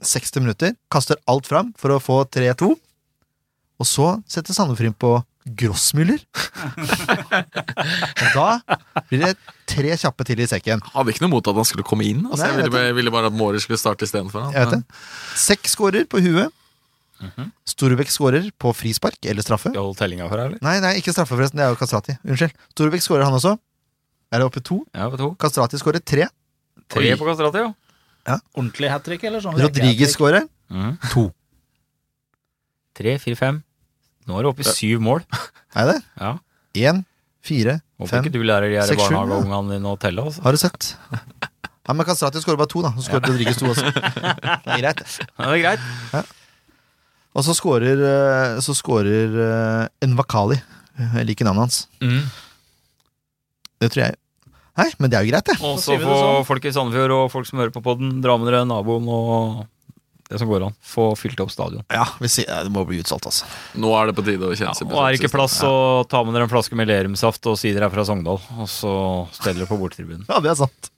60 minutter. Kaster alt fram for å få 3-2. Og så setter Sandefjord inn på Grossmüller. Og da blir det tre kjappe til i sekken. Hadde ikke noe mot at han skulle komme inn. Altså, Nei, jeg, ville, jeg bare- jeg ville bare at Mårer skulle starte istedenfor Jeg vet han. det. Seks skårer på huet. Storbekk skårer på frispark eller straffe. Skal holde tellinga for deg, eller? Nei, nei, ikke straffe, forresten. Det er jo Kastrati. Unnskyld. Storbekk skårer, han også. Er det oppe to? Ja, på to. Kastrati skårer tre. Tre Oi. på Kastrati, jo. Ordentlig hat trick, eller sånn? Rodriguez skårer. To. Mhm. Tre, fire, fem. Nå er du oppe i syv mål. Er det? Ja. Én, fire, Håper fem. ikke du lærer de her seks, sju, barnehageungene dine å telle. Altså. Har du sett? Ja, men Kastrati skårer bare to, da. Så skårer Rodriguez to også. Det er greit. Ja, det er greit. Og så skårer eh, Så skårer eh, Envakali. Jeg liker navnet hans. Mhm. Det tror jeg. Nei, men det er jo greit, det. Og Så så sier vi det få sånn. folk i Sandefjord og folk som hører på podden, dra med dere naboen og det som går an. Få fylt opp stadion. Ja, vi sier, ja, det må bli utsolgt, altså. Nå er det på tide å kjenne seg og er det sånn ikke besøkelsesstedet. plass, så ta med dere en flaske med lerumsaft og si dere er fra Sogndal. Og så steller dere på bortetribunen. Ja, det er sant.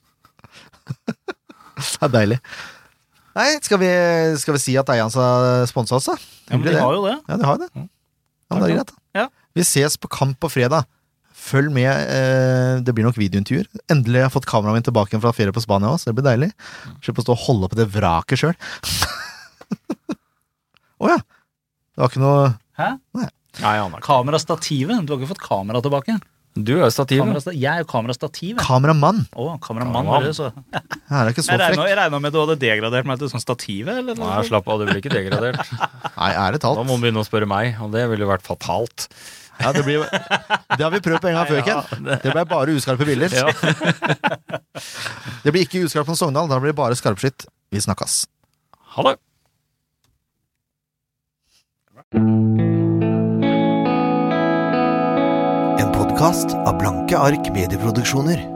det er deilig. Nei, skal vi, skal vi si at Eians har sponsa oss, da? Ja, men de Hyggelig, har jo det. Ja, de har det. Mm. Ja, men det er greit, da. Ja. Vi ses på kamp på fredag. Følg med. Eh, det blir nok videointervjuer. Endelig har jeg fått kameraet mitt tilbake igjen fra ferie på Spania òg, så det blir deilig. Slipp å stå og holde på det vraket sjøl. Å ja. Det var ikke noe Nei, han er ikke. Kamerastativet. Du har ikke fått kamera tilbake. Du er stativet. Kamerasta jeg er jo kamerastativ. jeg. kameramann. Å, kameramann. Kameramann. er det, så. Ja, det er ikke så Jeg regna frekk. jeg regna med at du hadde degradert meg til sånn stativet, eller? Nei, slapp av, du blir ikke degradert. Nei, ærlig Da må talt. han begynne å spørre meg, og det ville jo vært fatalt. Ja, det, blir, det har vi prøvd på en gang før, Ken. Det ble bare uskarpe bilder. Ja. Det blir ikke uskarpt som Sogndal, da blir det bare skarpskytt. Vi snakkes. Ha det! En podkast av Blanke ark medieproduksjoner.